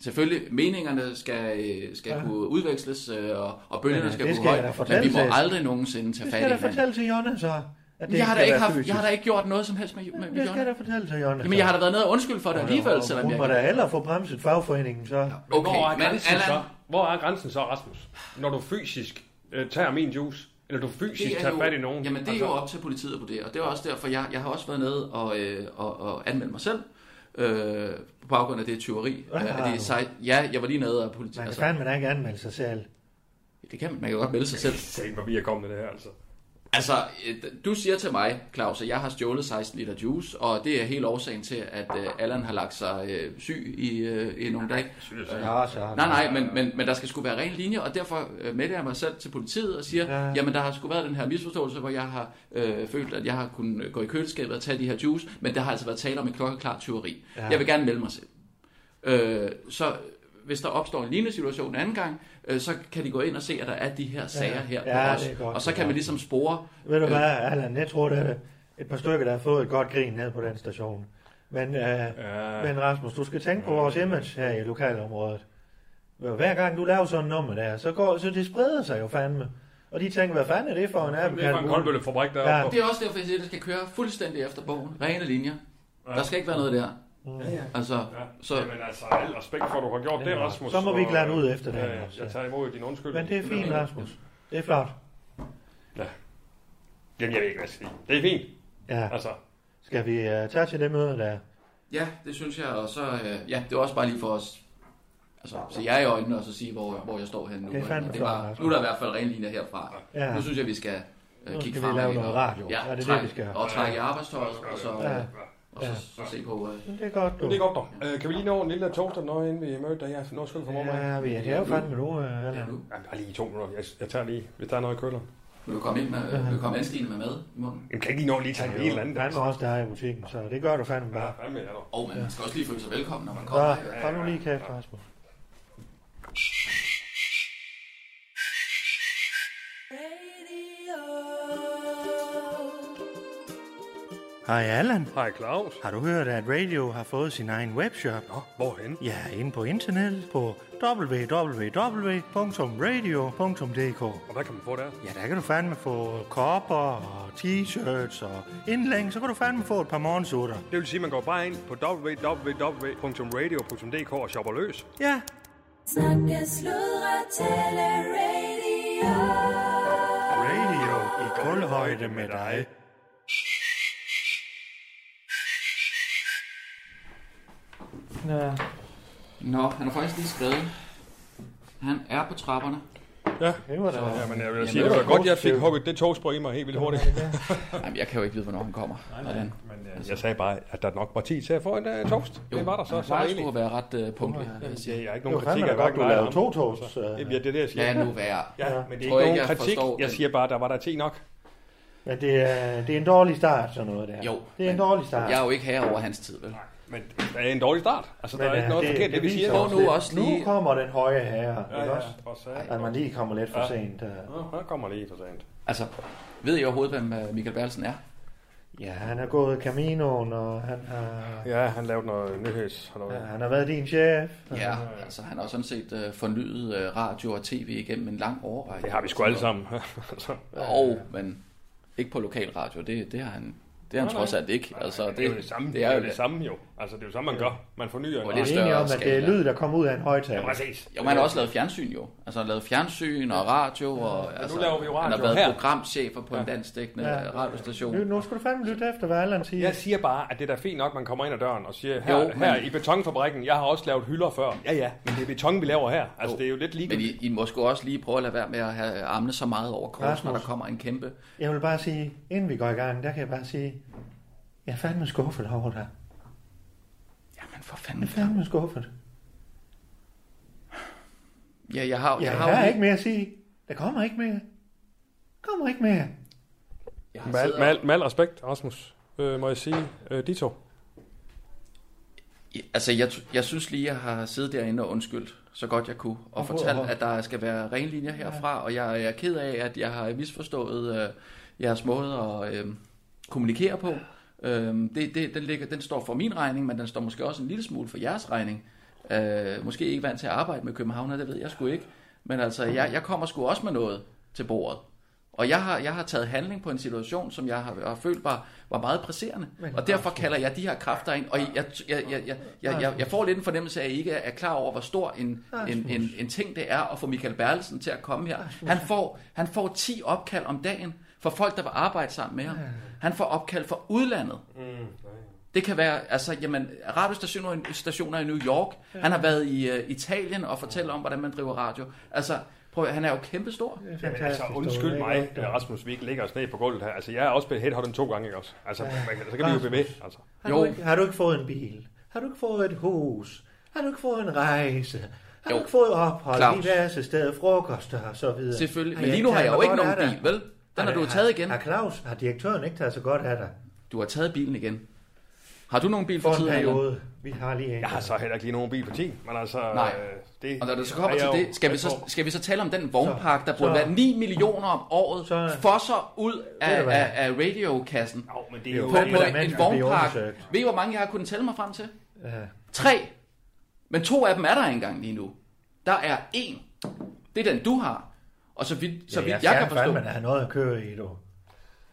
Speaker 6: Selvfølgelig, meningerne skal, øh, skal ja. kunne udveksles, øh, og, og bølgerne
Speaker 4: Men,
Speaker 6: skal
Speaker 4: det
Speaker 6: kunne
Speaker 4: skal jeg da
Speaker 6: højt, men
Speaker 4: fortælle
Speaker 6: vi må
Speaker 4: til-
Speaker 6: aldrig nogensinde tage
Speaker 4: det
Speaker 6: fat
Speaker 4: skal jeg
Speaker 6: i
Speaker 4: da
Speaker 6: hinanden.
Speaker 4: fortælle til Jonna så. At det
Speaker 6: Jeg har, da
Speaker 4: skal
Speaker 6: ikke
Speaker 4: være
Speaker 6: haft,
Speaker 4: fysisk.
Speaker 6: jeg har da ikke gjort noget som helst med, med, med
Speaker 4: Det skal
Speaker 6: Jonna.
Speaker 4: jeg da fortælle til Jonna.
Speaker 6: Jamen, jeg har da været nede og undskylde for det alligevel, selvom
Speaker 4: Hun
Speaker 6: jeg...
Speaker 4: må da hellere få bremset fagforeningen så.
Speaker 3: Okay, hvor er
Speaker 6: Okay, men
Speaker 3: grænsen
Speaker 6: Allan,
Speaker 3: så? Hvor er grænsen så, Rasmus? Når du fysisk øh, tager min juice, eller du fysisk
Speaker 6: det er
Speaker 3: tager
Speaker 6: jo,
Speaker 3: fat i nogen. altså-
Speaker 6: Jamen, det er jo op til politiet at vurdere, og det er også derfor, jeg, jeg har også været nede og, øh, og, og anmeldt mig selv. Øh, på baggrund af det tyveri.
Speaker 4: Hvad
Speaker 6: Øh,
Speaker 4: har
Speaker 6: det er
Speaker 4: du?
Speaker 6: sej, ja, jeg var lige nede og politi...
Speaker 4: Man kan
Speaker 6: Altså,
Speaker 4: fandme da ikke anmelde sig selv.
Speaker 6: det kan man, man kan jo godt melde sig selv.
Speaker 3: Sæt, hvor vi er kommet med det her, altså.
Speaker 6: Altså, øh, du siger til mig, Claus, at jeg har stjålet 16 liter juice, og det er helt årsagen til, at øh, Allan har lagt sig øh, syg i, øh, i nogle dage.
Speaker 4: Ja, så.
Speaker 6: Nej, nej, men, men, men der skal sgu være ren linje, og derfor øh, melder jeg mig selv til politiet og siger, ja.
Speaker 4: Ja.
Speaker 6: jamen der har sgu været den her misforståelse, hvor jeg har øh, følt, at jeg har kunnet øh, gå i køleskabet og tage de her juice, men der har altså været tale om et klokkeklar tyveri. Ja.
Speaker 4: Ja.
Speaker 6: Jeg vil gerne melde mig selv. Øh, så hvis der opstår en lignende situation en anden gang, øh, så kan de gå ind og se, at der er de her sager
Speaker 4: Ja,
Speaker 6: her på
Speaker 4: det
Speaker 6: os,
Speaker 4: er godt,
Speaker 6: og så
Speaker 4: det er
Speaker 6: kan man
Speaker 4: godt.
Speaker 6: ligesom spore...
Speaker 4: Ved du
Speaker 6: øh,
Speaker 4: hvad, Allan, jeg tror, der er et par stykker, der har fået et godt grin ned på den station. Men, øh,
Speaker 3: Ja.
Speaker 4: men Rasmus, du skal tænke på vores image her i lokalområdet. Hver gang du laver sådan en nummer der, så, går, så det spreder sig jo fandme. Og de tænker, hvad fanden er det for en app?
Speaker 3: Det er bare en koldbøllefabrik
Speaker 4: Ja.
Speaker 3: deroppe.
Speaker 6: Det er også derfor, jeg siger, at det skal køre fuldstændig efter bogen. Rene linjer. Der skal ikke være noget der.
Speaker 4: Mm.
Speaker 6: Altså,
Speaker 3: Så.
Speaker 6: så,
Speaker 3: Jamen altså, al respekt for, at du har gjort det, Rasmus.
Speaker 4: Så må vi
Speaker 3: og,
Speaker 4: glade ud efter det,
Speaker 3: ja, ja,
Speaker 4: altså.
Speaker 3: Jeg tager imod din undskyld.
Speaker 4: Men det er fint, Rasmus. Det er flot.
Speaker 3: Jamen, jeg ved ikke, hvad jeg skal sige. Det er fint.
Speaker 4: Ja.
Speaker 3: Altså,
Speaker 4: Skal vi uh, tage til det møde der?
Speaker 6: ja, det synes jeg. Og så, øh, ja, det var også bare lige for os Altså, se jer i øjnene og så sige, hvor, hvor jeg står henne nu.
Speaker 4: Det er fandme
Speaker 6: og det var,
Speaker 4: flot, altså.
Speaker 6: nu er der i hvert fald ren linje herfra.
Speaker 4: Ja.
Speaker 6: Nu synes jeg, vi skal øh,
Speaker 4: Nu
Speaker 6: kigge
Speaker 4: skal vi
Speaker 6: fremad.
Speaker 4: lave
Speaker 6: og-
Speaker 4: noget radio.
Speaker 6: Ja,
Speaker 4: Ja, det er det,
Speaker 6: træk,
Speaker 4: vi skal.
Speaker 6: Og trække i arbejdstøjet, og så,
Speaker 4: Ja.
Speaker 6: og så, så se på... Øh,
Speaker 4: Men det er godt, du.
Speaker 3: Det er godt, dog. Øh, kan vi lige nå en lille toaster, når inden vi mødte dig? Jeg når skyld for mormor. Ja.
Speaker 4: Ja, vi er, det er jo fandme nu, øh,
Speaker 6: ja,
Speaker 4: Allan.
Speaker 6: nu.
Speaker 3: Jamen, bare lige to minutter. Jeg, jeg tager lige, hvis der er noget i køleren.
Speaker 6: Vil du komme ind med, vil du komme anstigende med mad i munden?
Speaker 3: Jamen, kan jeg ikke lige nå at lige tage en helt anden?
Speaker 4: Fandme også dig i butikken, så det gør du fandme
Speaker 3: Ja,
Speaker 4: bare.
Speaker 3: fandme, jeg er dog.
Speaker 6: Og man skal også lige føle sig velkommen, når man
Speaker 4: Så,
Speaker 6: kommer.
Speaker 4: hold nu lige kæft, Rasmus. Hej Allan,
Speaker 3: Hej, Claus.
Speaker 4: har du hørt, at Radio har fået sin egen webshop?
Speaker 3: Nå, hvorhen?
Speaker 4: Ja, inde på internettet på www.radio.dk.
Speaker 3: Og hvad kan man få der?
Speaker 4: Ja, der kan du fandme få kopper og t-shirts og indlæng, så kan du fandme få et par morgensutter.
Speaker 3: Det vil sige, at man går bare ind på www.radio.dk og shopper løs.
Speaker 4: Ja,
Speaker 2: Snakke, sludre, tale, radio.
Speaker 4: radio i kulhøjde med dig. Ja.
Speaker 6: Nå, han har faktisk lige skrevet. Han er på trapperne.
Speaker 3: Ja.
Speaker 4: Det var da...
Speaker 3: Ja, men jeg vil
Speaker 6: Jamen,
Speaker 3: sige, det
Speaker 6: det
Speaker 3: var
Speaker 6: var
Speaker 3: da godt, jeg fik
Speaker 4: positivt.
Speaker 3: hugget det togspor i mig helt vildt hurtigt.
Speaker 6: Jamen, jeg kan jo ikke vide, hvornår han kommer. Hvordan?
Speaker 3: Men øh, jeg sagde bare, at der nok var tid til at få en øh, toast. Det var der så,
Speaker 6: Han
Speaker 3: så er
Speaker 6: plejer
Speaker 3: jeg
Speaker 6: sgu
Speaker 3: enig.
Speaker 6: at være ret øh, punktlig. vil jeg sige.
Speaker 3: Ja, jeg er ikke
Speaker 4: Det var
Speaker 3: nogen kritik
Speaker 4: fandme da
Speaker 3: af
Speaker 4: godt,
Speaker 3: hverken
Speaker 4: du
Speaker 3: dig eller
Speaker 4: lavede to
Speaker 3: ham.
Speaker 4: toasts. øh.
Speaker 3: Jamen, ja, det er det, jeg siger.
Speaker 6: Lad nu være.
Speaker 3: Ja, men det er
Speaker 6: Tror
Speaker 3: ikke nogen
Speaker 6: ikke, jeg
Speaker 3: kritik.
Speaker 6: forstår
Speaker 3: Jeg
Speaker 6: den.
Speaker 3: siger bare, at der var der te nok.
Speaker 4: Men det er, det er en dårlig start, sådan noget der.
Speaker 6: Jo.
Speaker 4: Det er en
Speaker 6: men
Speaker 4: dårlig start.
Speaker 6: Jeg er jo ikke her over hans tid, vel?
Speaker 3: Men det er en dårlig start. Altså, der
Speaker 4: Men,
Speaker 3: er ikke
Speaker 4: øh,
Speaker 3: noget forkert, i det vi
Speaker 4: viser
Speaker 3: siger.
Speaker 6: Prøv
Speaker 4: os
Speaker 6: nu
Speaker 4: lidt.
Speaker 6: også lige-
Speaker 4: Nu kommer den høje herre,
Speaker 3: Ja,
Speaker 4: ikke
Speaker 3: ja,
Speaker 4: også?
Speaker 3: for satan.
Speaker 4: At man lige kommer lidt for
Speaker 3: Ja.
Speaker 4: sent. øh.
Speaker 3: Nå, Han kommer lige for sent.
Speaker 6: Altså, ved I overhovedet, hvem øh, Michael Berlsen er?
Speaker 4: Ja, han har gået Caminoen, og han har,
Speaker 3: Ja, han lavede noget nyheds. Eller
Speaker 4: ja,
Speaker 3: hvad?
Speaker 4: han har været din chef.
Speaker 6: Ja, altså han har sådan set øh, fornyet øh, radio og tv igennem en lang årrække.
Speaker 3: Det har vi sgu alle sammen. Altså,
Speaker 6: Og, men ikke på lokal radio. Det, det har han, det har han
Speaker 3: Nej,
Speaker 6: trods
Speaker 3: nej.
Speaker 6: alt ikke. Altså,
Speaker 3: det, er jo det samme.
Speaker 6: Det er jo
Speaker 3: det
Speaker 6: det
Speaker 3: samme jo. Altså, det er jo samme, man gør. Man fornyer.
Speaker 6: Og
Speaker 4: Vi
Speaker 6: det
Speaker 3: det
Speaker 4: er enige om, at det er
Speaker 6: skala.
Speaker 4: lyd, der kommer ud af en højtaler.
Speaker 3: Præcis.
Speaker 6: Jo, men han har også lavet fjernsyn jo. Altså han har lavet fjernsyn og radio. Og, altså,
Speaker 3: laver vi jo
Speaker 6: Han
Speaker 3: radio
Speaker 6: har været
Speaker 3: her.
Speaker 6: programchefer på en danskdækkende
Speaker 4: Ja.
Speaker 6: ja. radiostation.
Speaker 4: Nu, nu skal du fandme lytte efter, hvad Allan siger.
Speaker 3: Jeg siger bare, at det er da fint nok, man kommer ind ad døren og siger, her,
Speaker 6: Jo,
Speaker 3: jo, her
Speaker 6: men-
Speaker 3: i betonfabrikken, jeg har også lavet hylder før. Ja, ja, men det er beton, vi laver her. Altså,
Speaker 6: Jo.
Speaker 3: det er jo lidt
Speaker 6: Men
Speaker 3: ligegyldigt.
Speaker 6: I, I må sgu også lige prøve at lade være med at have armene så meget over kors, når
Speaker 4: Rasmus.
Speaker 6: der kommer en kæmpe.
Speaker 4: Jeg vil bare sige, inden vi går i gang, der kan jeg bare sige, jeg er fandme skuffet over dig.
Speaker 6: Jamen for
Speaker 4: Jeg
Speaker 6: fanden.
Speaker 4: er fandme skuffet.
Speaker 6: Ja, jeg har,
Speaker 4: Ja,
Speaker 6: jeg
Speaker 4: der
Speaker 6: har,
Speaker 4: er
Speaker 6: jo
Speaker 4: ikke mere at sige. Der kommer ikke mere. Kommer ikke mere.
Speaker 6: Jeg har
Speaker 3: Med al,
Speaker 6: siddet
Speaker 3: med,
Speaker 6: og-
Speaker 3: al, med al respekt, Rasmus, øh, må jeg sige, øh, de to.
Speaker 6: Ja, Altså, jeg, jeg synes lige, jeg har siddet derinde og undskyldt, så godt jeg kunne, og fortalt, at der skal være ren linjer herfra, og jeg er ked af, at jeg har misforstået øh, jeres måde at øh, kommunikere på. Øh, det, det, den, ligger, den står for min regning, men den står måske også en lille smule for jeres regning. Øh, måske ikke vant til at arbejde med københavner, det ved jeg sgu ikke. Men altså, jeg, jeg kommer sgu også med noget til bordet. Og jeg har, jeg har taget handling på en situation, som jeg har, har følt var, var meget presserende. og derfor kalder jeg de her kræfter ind. Og jeg, jeg, jeg, jeg, jeg, jeg, jeg får lidt en fornemmelse af, at I ikke er klar over, hvor stor en, en, en, en ting det er at få Michael Berlsen til at komme her. Han får, han får 10 opkald om dagen for folk, der vil arbejde sammen med ham. Han får opkald fra udlandet. Det kan være, altså, jamen, radiostationer i- stationer i New York. Han har været i uh, Italien og fortæller om, hvordan man driver radio. Altså, prøv, at- han er jo kæmpestor.
Speaker 4: Det er
Speaker 3: Jamen,
Speaker 4: fantastisk,
Speaker 3: altså,
Speaker 4: du.
Speaker 3: undskyld
Speaker 4: Det er
Speaker 3: mig,
Speaker 4: godt, du.
Speaker 3: Rasmus, vi ikke ligger os ned på gulvet her. Altså, jeg er også blevet headhunted to gange, ikke også? Altså, man, kan- så kan vi jo blive ved. Altså.
Speaker 4: Har, du
Speaker 6: Jo.
Speaker 4: ikke, har du ikke fået en bil? Har du ikke fået et hus? Har du ikke fået en rejse? Har
Speaker 6: Jo.
Speaker 4: du ikke fået ophold
Speaker 6: Claus.
Speaker 4: Claus. diverse steder, frokoster og så videre?
Speaker 6: Selvfølgelig.
Speaker 4: Har
Speaker 6: Men
Speaker 4: jeg
Speaker 6: lige nu har
Speaker 4: taget
Speaker 6: jeg jo
Speaker 4: mig
Speaker 6: ikke
Speaker 4: godt
Speaker 6: nogen
Speaker 4: af dig?
Speaker 6: bil, vel? Den har du jo
Speaker 4: det-
Speaker 6: taget igen.
Speaker 4: Har Claus, har direktøren ikke taget så godt af dig?
Speaker 6: Du har taget bilen igen. Har du nogen bil
Speaker 4: For
Speaker 6: for
Speaker 4: en
Speaker 6: tiden? Allan?
Speaker 4: periode. Vi har lige en.
Speaker 3: Jeg har så heller ikke lige nogen bil på 10, men altså...
Speaker 6: Nej.
Speaker 3: øh, det,
Speaker 6: Og når det så kommer
Speaker 3: er jeg
Speaker 6: til
Speaker 3: jo-
Speaker 6: det, skal vi, så,
Speaker 3: jeg
Speaker 6: skal vi så tale om den vognpark, der
Speaker 4: Så-
Speaker 6: burde
Speaker 4: så-
Speaker 6: være 9 millioner om året,
Speaker 4: Så-
Speaker 6: fosser ud
Speaker 4: du
Speaker 6: af,
Speaker 4: hvad?
Speaker 6: af, af radiokassen
Speaker 3: tror- Jo, men det er jo...
Speaker 6: på,
Speaker 4: det er
Speaker 6: på
Speaker 4: der
Speaker 6: en,
Speaker 4: mennesker, der
Speaker 6: en
Speaker 4: bliver
Speaker 6: vognpark.
Speaker 4: undersøgt.
Speaker 6: Ved I, hvor mange jeg har kunnet tælle mig frem til?
Speaker 4: Ja.
Speaker 6: Tre. Men to af dem er der ikke engang lige nu. Der er en. Det er den, du har. Og så vidt, så
Speaker 4: Ja,
Speaker 6: vidt jeg,
Speaker 4: jeg
Speaker 6: kan forstå...
Speaker 4: Man har noget at køre i, du.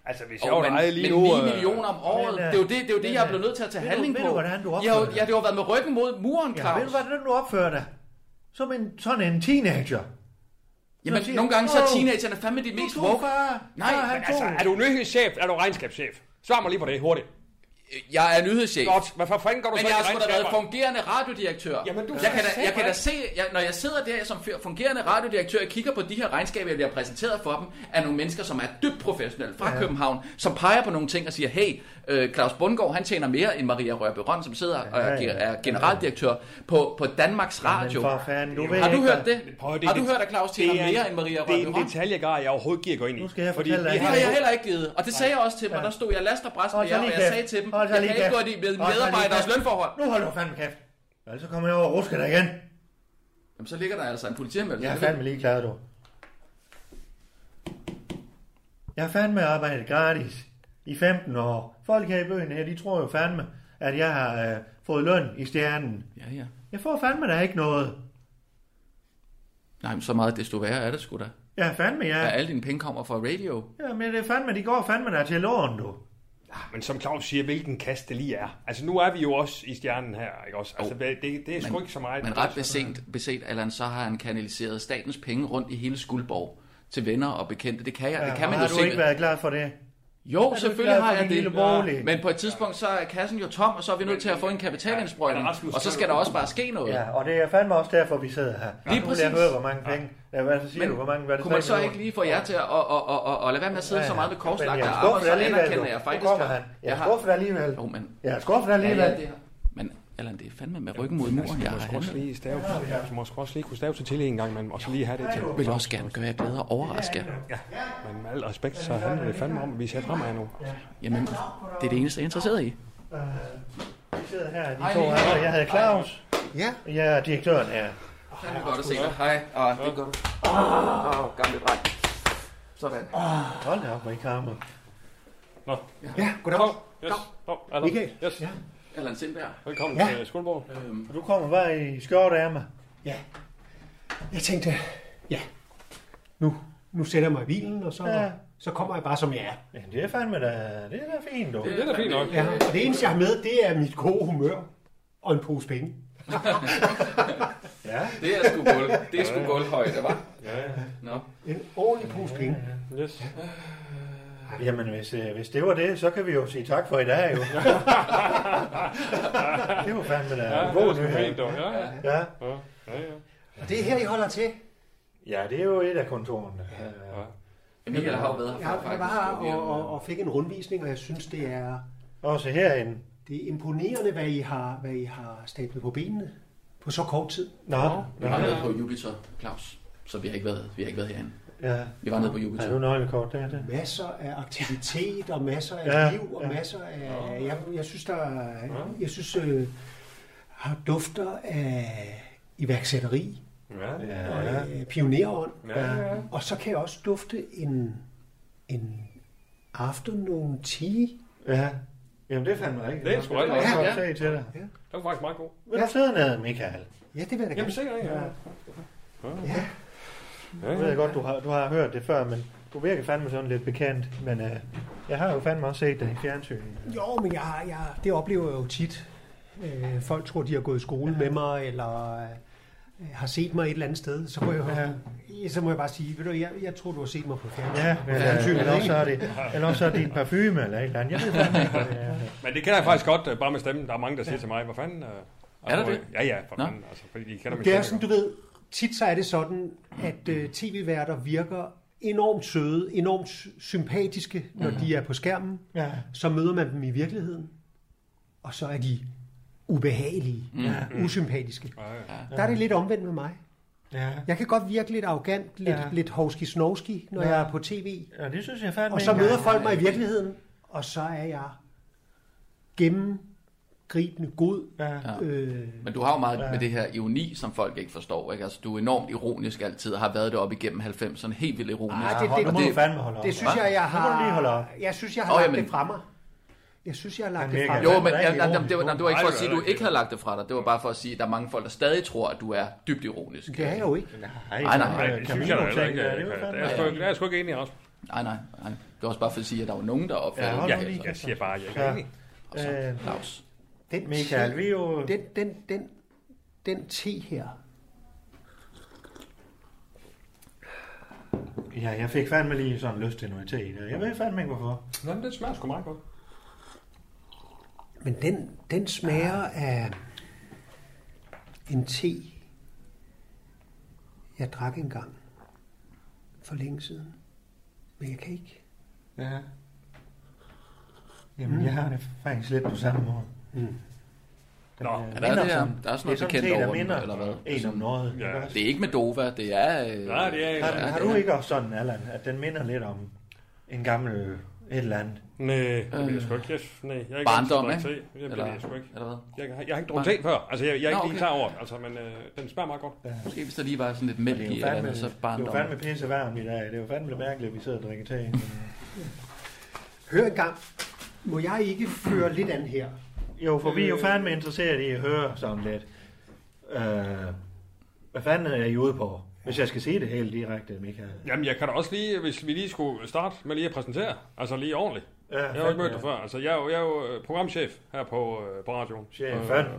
Speaker 3: Altså, hvis jeg
Speaker 6: Jo,
Speaker 3: var
Speaker 6: men,
Speaker 3: dig lige
Speaker 6: men
Speaker 3: nu...
Speaker 6: 9
Speaker 3: øh,
Speaker 6: millioner om året,
Speaker 4: Men, øh,
Speaker 6: det er jo det, det, er jo det
Speaker 4: men,
Speaker 6: jeg er
Speaker 4: øh,
Speaker 6: blevet nødt til at tage
Speaker 4: ved du-
Speaker 6: handling
Speaker 4: ved
Speaker 6: på.
Speaker 4: du, hvordan du
Speaker 6: jeg, har jo-
Speaker 4: opfører
Speaker 6: ja, det har jo været med ryggen mod muren,
Speaker 4: Ja, ved du,
Speaker 6: Claus.
Speaker 4: hvordan du opfører dig? Som en, sådan en teenager.
Speaker 6: Jamen,
Speaker 4: Nå, siger-
Speaker 6: nogle gange så er
Speaker 4: Wow.
Speaker 6: teenagerne fandme de mest
Speaker 4: Du
Speaker 6: woke.
Speaker 4: far.
Speaker 6: Nej,
Speaker 4: far, han
Speaker 6: men altså,
Speaker 4: tog.
Speaker 3: Altså, er du nyhedschef? Er du regnskabschef? Svar mig lige på det hurtigt.
Speaker 6: Jeg er nyhedschef.
Speaker 3: Godt, hvad for fanden går du
Speaker 6: Men
Speaker 3: så
Speaker 6: jeg har
Speaker 3: ind i
Speaker 6: sgu da været
Speaker 3: regnskaberne?
Speaker 6: fungerende radiodirektør.
Speaker 3: Jamen, du
Speaker 6: jeg kan da,
Speaker 3: sagde
Speaker 6: jeg kan da
Speaker 3: det.
Speaker 6: se, jeg, når jeg sidder der som fyr- fungerende radiodirektør og kigger på de her regnskaber, jeg bliver præsenteret for dem, af nogle mennesker, som er dybt professionelle fra ja. København, som peger på nogle ting og siger, hey, øh, Claus Bundgaard, han tjener mere end Maria Rørby Røn, som sidder og
Speaker 4: Ja,
Speaker 6: er,
Speaker 4: ja.
Speaker 6: ge- er generaldirektør på, på Danmarks Radio.
Speaker 4: Men for fanden, nu ved
Speaker 6: Har du
Speaker 4: jeg ikke,
Speaker 6: hørt det?
Speaker 3: Prøv at-
Speaker 6: Har du
Speaker 3: det-
Speaker 6: hørt, at Claus
Speaker 3: det er
Speaker 6: tjener
Speaker 3: en-
Speaker 6: mere end Maria
Speaker 3: Det er
Speaker 6: Rørby
Speaker 3: en
Speaker 6: Røn?
Speaker 3: detaljegrad, jeg overhovedet giver går ind i.
Speaker 4: Nu skal jeg
Speaker 3: Fordi
Speaker 4: fortælle dig-
Speaker 3: vi
Speaker 6: Det
Speaker 3: har
Speaker 6: har jeg
Speaker 3: jo-
Speaker 6: heller ikke givet, og det sagde jeg også til dem, og der stod jeg laster bræst med
Speaker 4: Hold så
Speaker 6: jer, og
Speaker 4: lige
Speaker 6: jeg
Speaker 4: kæft.
Speaker 6: sagde til dem,
Speaker 4: Hold så
Speaker 6: jeg
Speaker 4: lige
Speaker 6: kan ikke gå
Speaker 4: kæft.
Speaker 6: ind i med-
Speaker 4: Hold så lige
Speaker 6: medarbejderes
Speaker 4: kæft.
Speaker 6: lønforhold.
Speaker 4: Nu holder du fandme kæft. Ellers så kommer jeg over og rusker dig igen.
Speaker 6: Jamen, så ligger der altså en politianmeldelse.
Speaker 4: Jeg er fandme lige glad, du. Jeg har fandme arbejdet gratis i 15 år. Folk her i byen her, de tror jo fandme, at jeg har øh, fået løn i stjernen.
Speaker 6: Ja, ja.
Speaker 4: Jeg får fandme da ikke noget.
Speaker 6: Nej, men så meget desto værre er det sgu da.
Speaker 4: Jeg er fandme, jeg...
Speaker 6: At alle dine penge kommer fra radio.
Speaker 4: Ja, men det er fandme, de går fandme der til lån, du.
Speaker 3: Men som Claus siger, hvilken kast det lige er. Altså nu er vi jo også i stjernen her, ikke også? Altså
Speaker 6: Jo.
Speaker 3: det, det er sgu ikke så meget.
Speaker 6: Men ret beset, beset Allan, så har han kanaliseret statens penge rundt i hele Skuldborg til venner og bekendte. Det kan, jeg, det kan man
Speaker 4: har
Speaker 6: jo
Speaker 4: du
Speaker 6: se.
Speaker 4: ikke været glad for det?
Speaker 6: Jo,
Speaker 4: du
Speaker 6: selvfølgelig
Speaker 4: glad
Speaker 6: har
Speaker 4: for
Speaker 6: jeg
Speaker 4: din lille
Speaker 6: det.
Speaker 4: bolig?
Speaker 6: Men på et tidspunkt, så er kassen jo tom, og så er vi nødt til at få en kapitalindsprøjtning.
Speaker 3: Men Rasmus,
Speaker 6: Og så skal der også bare ske noget.
Speaker 4: Ja, og det er fandme også derfor, vi sidder her.
Speaker 6: Lige
Speaker 4: nu vil jeg
Speaker 6: præcis.
Speaker 4: høre, hvor mange penge... Ja, hvad så siger du, hvor mange... Hvad er det
Speaker 6: kunne man så
Speaker 4: sagde du?
Speaker 6: ikke lige få jer til at og, og, og, og, og lade være med at sidde så meget med korslagte
Speaker 4: Men jeg er
Speaker 6: arme, og
Speaker 4: skuffet
Speaker 6: så
Speaker 4: alligevel,
Speaker 6: anerkender
Speaker 4: du.
Speaker 6: jeg
Speaker 4: Nu
Speaker 6: faktisk,
Speaker 4: kommer
Speaker 6: at
Speaker 4: han. Jeg
Speaker 6: jeg
Speaker 4: er
Speaker 6: har-
Speaker 4: skuffet alligevel.
Speaker 6: Jo, men
Speaker 4: Jeg er skuffet
Speaker 6: Ja,
Speaker 4: alligevel.
Speaker 6: ja, det har. Men Allan, det er fandme med ryggen mod muren, jeg
Speaker 3: Du
Speaker 6: har
Speaker 3: Altså, må også
Speaker 6: handlet.
Speaker 3: lige stave, du må også lige kunne stave til til en gang, men også lige have det til.
Speaker 6: vil også gerne gøre jer glade og overraske jer.
Speaker 3: Ja, men med al respekt, så handler det fandme om, at vi ser fremad nu.
Speaker 6: Jamen, det er det eneste, jeg er interesseret i.
Speaker 4: Vi sidder her, de
Speaker 6: Hej,
Speaker 4: to
Speaker 6: Michael.
Speaker 4: her. Jeg hedder Claus.
Speaker 7: Ja.
Speaker 4: Jeg er direktøren her.
Speaker 6: Fandme godt at se dig. Hej. Åh, det er godt. Åh, oh, gamle dreng. Sådan.
Speaker 4: Hold da op, hvor I kommer.
Speaker 3: Nå,
Speaker 7: Ja, goddag.
Speaker 3: yes. Nå, Allan.
Speaker 7: Michael.
Speaker 3: Yes.
Speaker 7: Ja.
Speaker 6: Allan Sindberg.
Speaker 3: Velkommen
Speaker 7: Ja.
Speaker 3: til Skuldborg.
Speaker 4: Og du kommer bare i skjorteærmer.
Speaker 7: Ja. Jeg tænkte, ja, nu, nu sætter jeg mig i bilen, og så,
Speaker 4: Ja.
Speaker 7: ja. så kommer jeg bare som jeg er.
Speaker 4: Ja, det er fandme da... Det er da fint, du.
Speaker 3: Det er da fint nok.
Speaker 7: Ja, og det eneste, jeg har med, det er mit gode humør og en pose penge.
Speaker 4: Ja,
Speaker 6: Det er sgu gulv. Det er sgu gulvhøjde, hva'? Nå.
Speaker 7: En ordentlig pose penge.
Speaker 3: Yes.
Speaker 4: Jamen, hvis, øh, hvis det var det, så kan vi jo sige tak for i dag, jo. det var fandme da
Speaker 3: Ja,
Speaker 4: ja, en
Speaker 3: det er
Speaker 4: god
Speaker 3: sgu fint,
Speaker 4: nyhed.
Speaker 3: dog. Ja, ja.
Speaker 4: Ja.
Speaker 3: Ja, ja, ja.
Speaker 7: Og det er her, I holder til.
Speaker 4: ja, det er jo et af kontorerne. Ja.
Speaker 3: Ja.
Speaker 6: Michael har jo været her
Speaker 7: Jeg
Speaker 6: før,
Speaker 7: var her
Speaker 6: faktisk.
Speaker 7: og, og, og fik en rundvisning, og jeg synes, det er,
Speaker 4: Også herinde.
Speaker 7: det er imponerende, hvad I, har, hvad I har stablet på benene på så kort tid.
Speaker 4: Nå,
Speaker 6: Vi
Speaker 4: nå,
Speaker 6: har været på Jupiter, Claus. Så vi har ikke været, vi har ikke været herinde.
Speaker 4: ja.
Speaker 6: Vi var nede på
Speaker 4: Har du
Speaker 6: Jupiter.
Speaker 4: nøglekort der? Det?
Speaker 7: Masser af aktivitet og masser af
Speaker 4: Ja,
Speaker 7: liv og
Speaker 4: ja.
Speaker 7: masser af... Jeg, jeg synes, der er- jeg synes, øh, har dufter af iværksætteri
Speaker 3: Ja.
Speaker 7: og
Speaker 4: Ja,
Speaker 7: øh, pionerånd.
Speaker 3: Ja, ja.
Speaker 7: Og så kan jeg også dufte en, en afternoon tea.
Speaker 4: ja. Jamen, det er fandme rigtigt.
Speaker 3: Det er sgu rigtigt.
Speaker 4: Jeg kan godt
Speaker 6: Ja,
Speaker 4: se til dig.
Speaker 3: Det var faktisk meget god.
Speaker 4: Vil du sidde ned, Michael?
Speaker 7: Ja, det vil jeg da
Speaker 3: Jamen,
Speaker 7: gerne.
Speaker 3: sikkert, ja.
Speaker 7: Ja.
Speaker 4: Jeg ved godt, du har, du har hørt det før, men du virker fandme sådan lidt bekendt. Men øh, jeg har jo fandme også set det i fjernsynet.
Speaker 7: Jo, men jeg, har- jeg, det oplever jeg jo tit. Øh, folk tror, de har gået i skole med mig, eller øh, har set mig et eller andet sted. Så må jeg, ja. så må jeg bare sige, ved du, jeg, jeg tror, du har set mig på fjernsynet.
Speaker 4: Ja, eller,
Speaker 6: Ja.
Speaker 4: eller, også er det, eller også er det en parfume eller et eller andet. Jeg ved fandme ikke, hvad det er.
Speaker 3: Men det kender jeg faktisk godt, øh, bare med stemmen. Der er mange, der siger til mig, hvad fanden... øh,
Speaker 6: Er der
Speaker 3: hvor-
Speaker 6: det?
Speaker 3: Ja, ja, for
Speaker 6: Nå.
Speaker 3: fanden. Altså, fordi de kender min
Speaker 7: Det er
Speaker 3: stemme,
Speaker 7: sådan, du ved, tit så er det sådan, at øh, tv-værter virker enormt søde, enormt sy- sympatiske, når de er på skærmen.
Speaker 4: Ja.
Speaker 7: Så møder man dem i virkeligheden, og så er de ubehagelige, mm. usympatiske.
Speaker 3: jo. Ja, ja.
Speaker 7: Der er det lidt omvendt med mig.
Speaker 4: Ja.
Speaker 7: Jeg kan godt virke lidt arrogant, lidt,
Speaker 4: Ja.
Speaker 7: ja. lidt hovski-snovski, når
Speaker 4: Ja.
Speaker 7: ja. jeg er på tv.
Speaker 4: ja, det synes jeg fandme
Speaker 7: Og så
Speaker 4: ikke
Speaker 7: møder
Speaker 4: engang.
Speaker 7: folk mig i virkeligheden, og så er jeg gennemgribende god.
Speaker 4: Ja.
Speaker 7: Øh,
Speaker 6: Men du har jo meget med det her ironi, som folk ikke forstår. Ikke? Altså, du er enormt ironisk altid, og har været det op igennem 90'erne. Helt vildt ironisk.
Speaker 7: Ej, det-
Speaker 4: Hold, nu må
Speaker 6: det-
Speaker 4: du fandme holde op.
Speaker 7: Det synes
Speaker 6: Hva?
Speaker 7: jeg, jeg
Speaker 4: Nu må du
Speaker 7: har...
Speaker 4: lige holde op.
Speaker 7: Jeg synes, jeg har
Speaker 6: Åh,
Speaker 7: oh, lagt
Speaker 6: jamen.
Speaker 7: det fra mig. Jeg synes, jeg har lagt
Speaker 4: Han
Speaker 7: det
Speaker 4: virker
Speaker 7: fra
Speaker 6: Jo,
Speaker 7: mig.
Speaker 4: altså
Speaker 6: men
Speaker 4: rigtig
Speaker 6: jamen, jamen, jamen, det, var,
Speaker 4: ironisk.
Speaker 6: jamen, det var ikke for at
Speaker 3: Nej,
Speaker 6: sige,
Speaker 3: det
Speaker 6: at du
Speaker 3: var
Speaker 6: ikke havde lagt det fra dig. Det var bare for at sige, at der er mange folk, der stadig tror, at du er dybt ironisk.
Speaker 7: Det er jeg jo ikke.
Speaker 4: Nej,
Speaker 6: Nej, nej,
Speaker 3: Nej, det synes jeg da heller ikke. jeg kan- Det er sgu ikke- det er jeg sgu ikke enig i, Rasmus.
Speaker 6: Nej, nej, nej. Det var også bare for at sige, at der var nogen, der opfattede
Speaker 4: Ja, hold
Speaker 3: Ja,
Speaker 4: nu lige
Speaker 6: altså.
Speaker 3: jeg siger bare, at jeg ikke
Speaker 4: Ja.
Speaker 3: er enig.
Speaker 6: Og så,
Speaker 4: Øh.
Speaker 6: Claus.
Speaker 7: Den
Speaker 4: Michael, vi er jo...
Speaker 7: Den, den, den, den te her.
Speaker 4: Ja, jeg fik fandme lige sådan lyst til noget te. der. Jeg ved fandme ikke, hvorfor.
Speaker 3: Nå, men det smager sgu meget godt.
Speaker 7: Men den, den smager af en te, jeg drak engang for længe siden. Men jeg kan ikke.
Speaker 4: Ja. Jamen, mm. jeg har det faktisk lidt på samme måde.
Speaker 3: Nå,
Speaker 6: er der, det her, der er sådan noget bekendt over den,
Speaker 4: minder
Speaker 6: eller hvad?
Speaker 4: en om noget.
Speaker 3: Ja.
Speaker 4: ikke også?
Speaker 6: Det er ikke med Dova, det er... Øh,
Speaker 3: Nej, det er-
Speaker 4: Har,
Speaker 6: ja,
Speaker 4: har
Speaker 6: det
Speaker 4: du
Speaker 6: er-
Speaker 4: ikke også sådan, Allan, at den minder lidt om en gammel et eller andet?
Speaker 3: Nej, det ved jeg sgu ikke. Jeg, nej, jeg er ikke
Speaker 6: Øh. Barndom,
Speaker 3: jeg
Speaker 6: ikke?
Speaker 3: te. Det ved jeg sgu ikke.
Speaker 6: Eller hvad?
Speaker 3: Jeg, har- jeg har ikke drukket te før. Altså, jeg, jeg er
Speaker 6: Nå,
Speaker 3: ikke lige
Speaker 6: okay.
Speaker 3: klar over det. Altså, men øh, den smager meget godt.
Speaker 6: Måske hvis der lige var sådan lidt mælk
Speaker 4: Det
Speaker 6: i,
Speaker 4: er jo
Speaker 6: eller
Speaker 4: fandme,
Speaker 6: andet, så
Speaker 4: det er jo
Speaker 6: barndom.
Speaker 4: fandme pisse varmt i dag. Det er jo fandme mærkeligt, at vi sidder og drikker te.
Speaker 7: Hør engang. Må jeg ikke føre lidt an her?
Speaker 4: Jo, for vi
Speaker 3: Øh.
Speaker 4: er jo fandme interesseret i at høre sådan lidt. Øh, hvad fanden er I ude på? Hvis jeg skal sige det helt direkte, Michael.
Speaker 3: Jamen, jeg kan da også lige, hvis vi lige skulle starte med lige at præsentere. Altså, lige ordentligt.
Speaker 4: Ja,
Speaker 3: Jeg har jo ikke mødt dig før. Altså, jeg er jo, jeg er jo øh, programchef her på, øh, på radioen.
Speaker 4: Chef,
Speaker 3: Øh,
Speaker 4: fandme.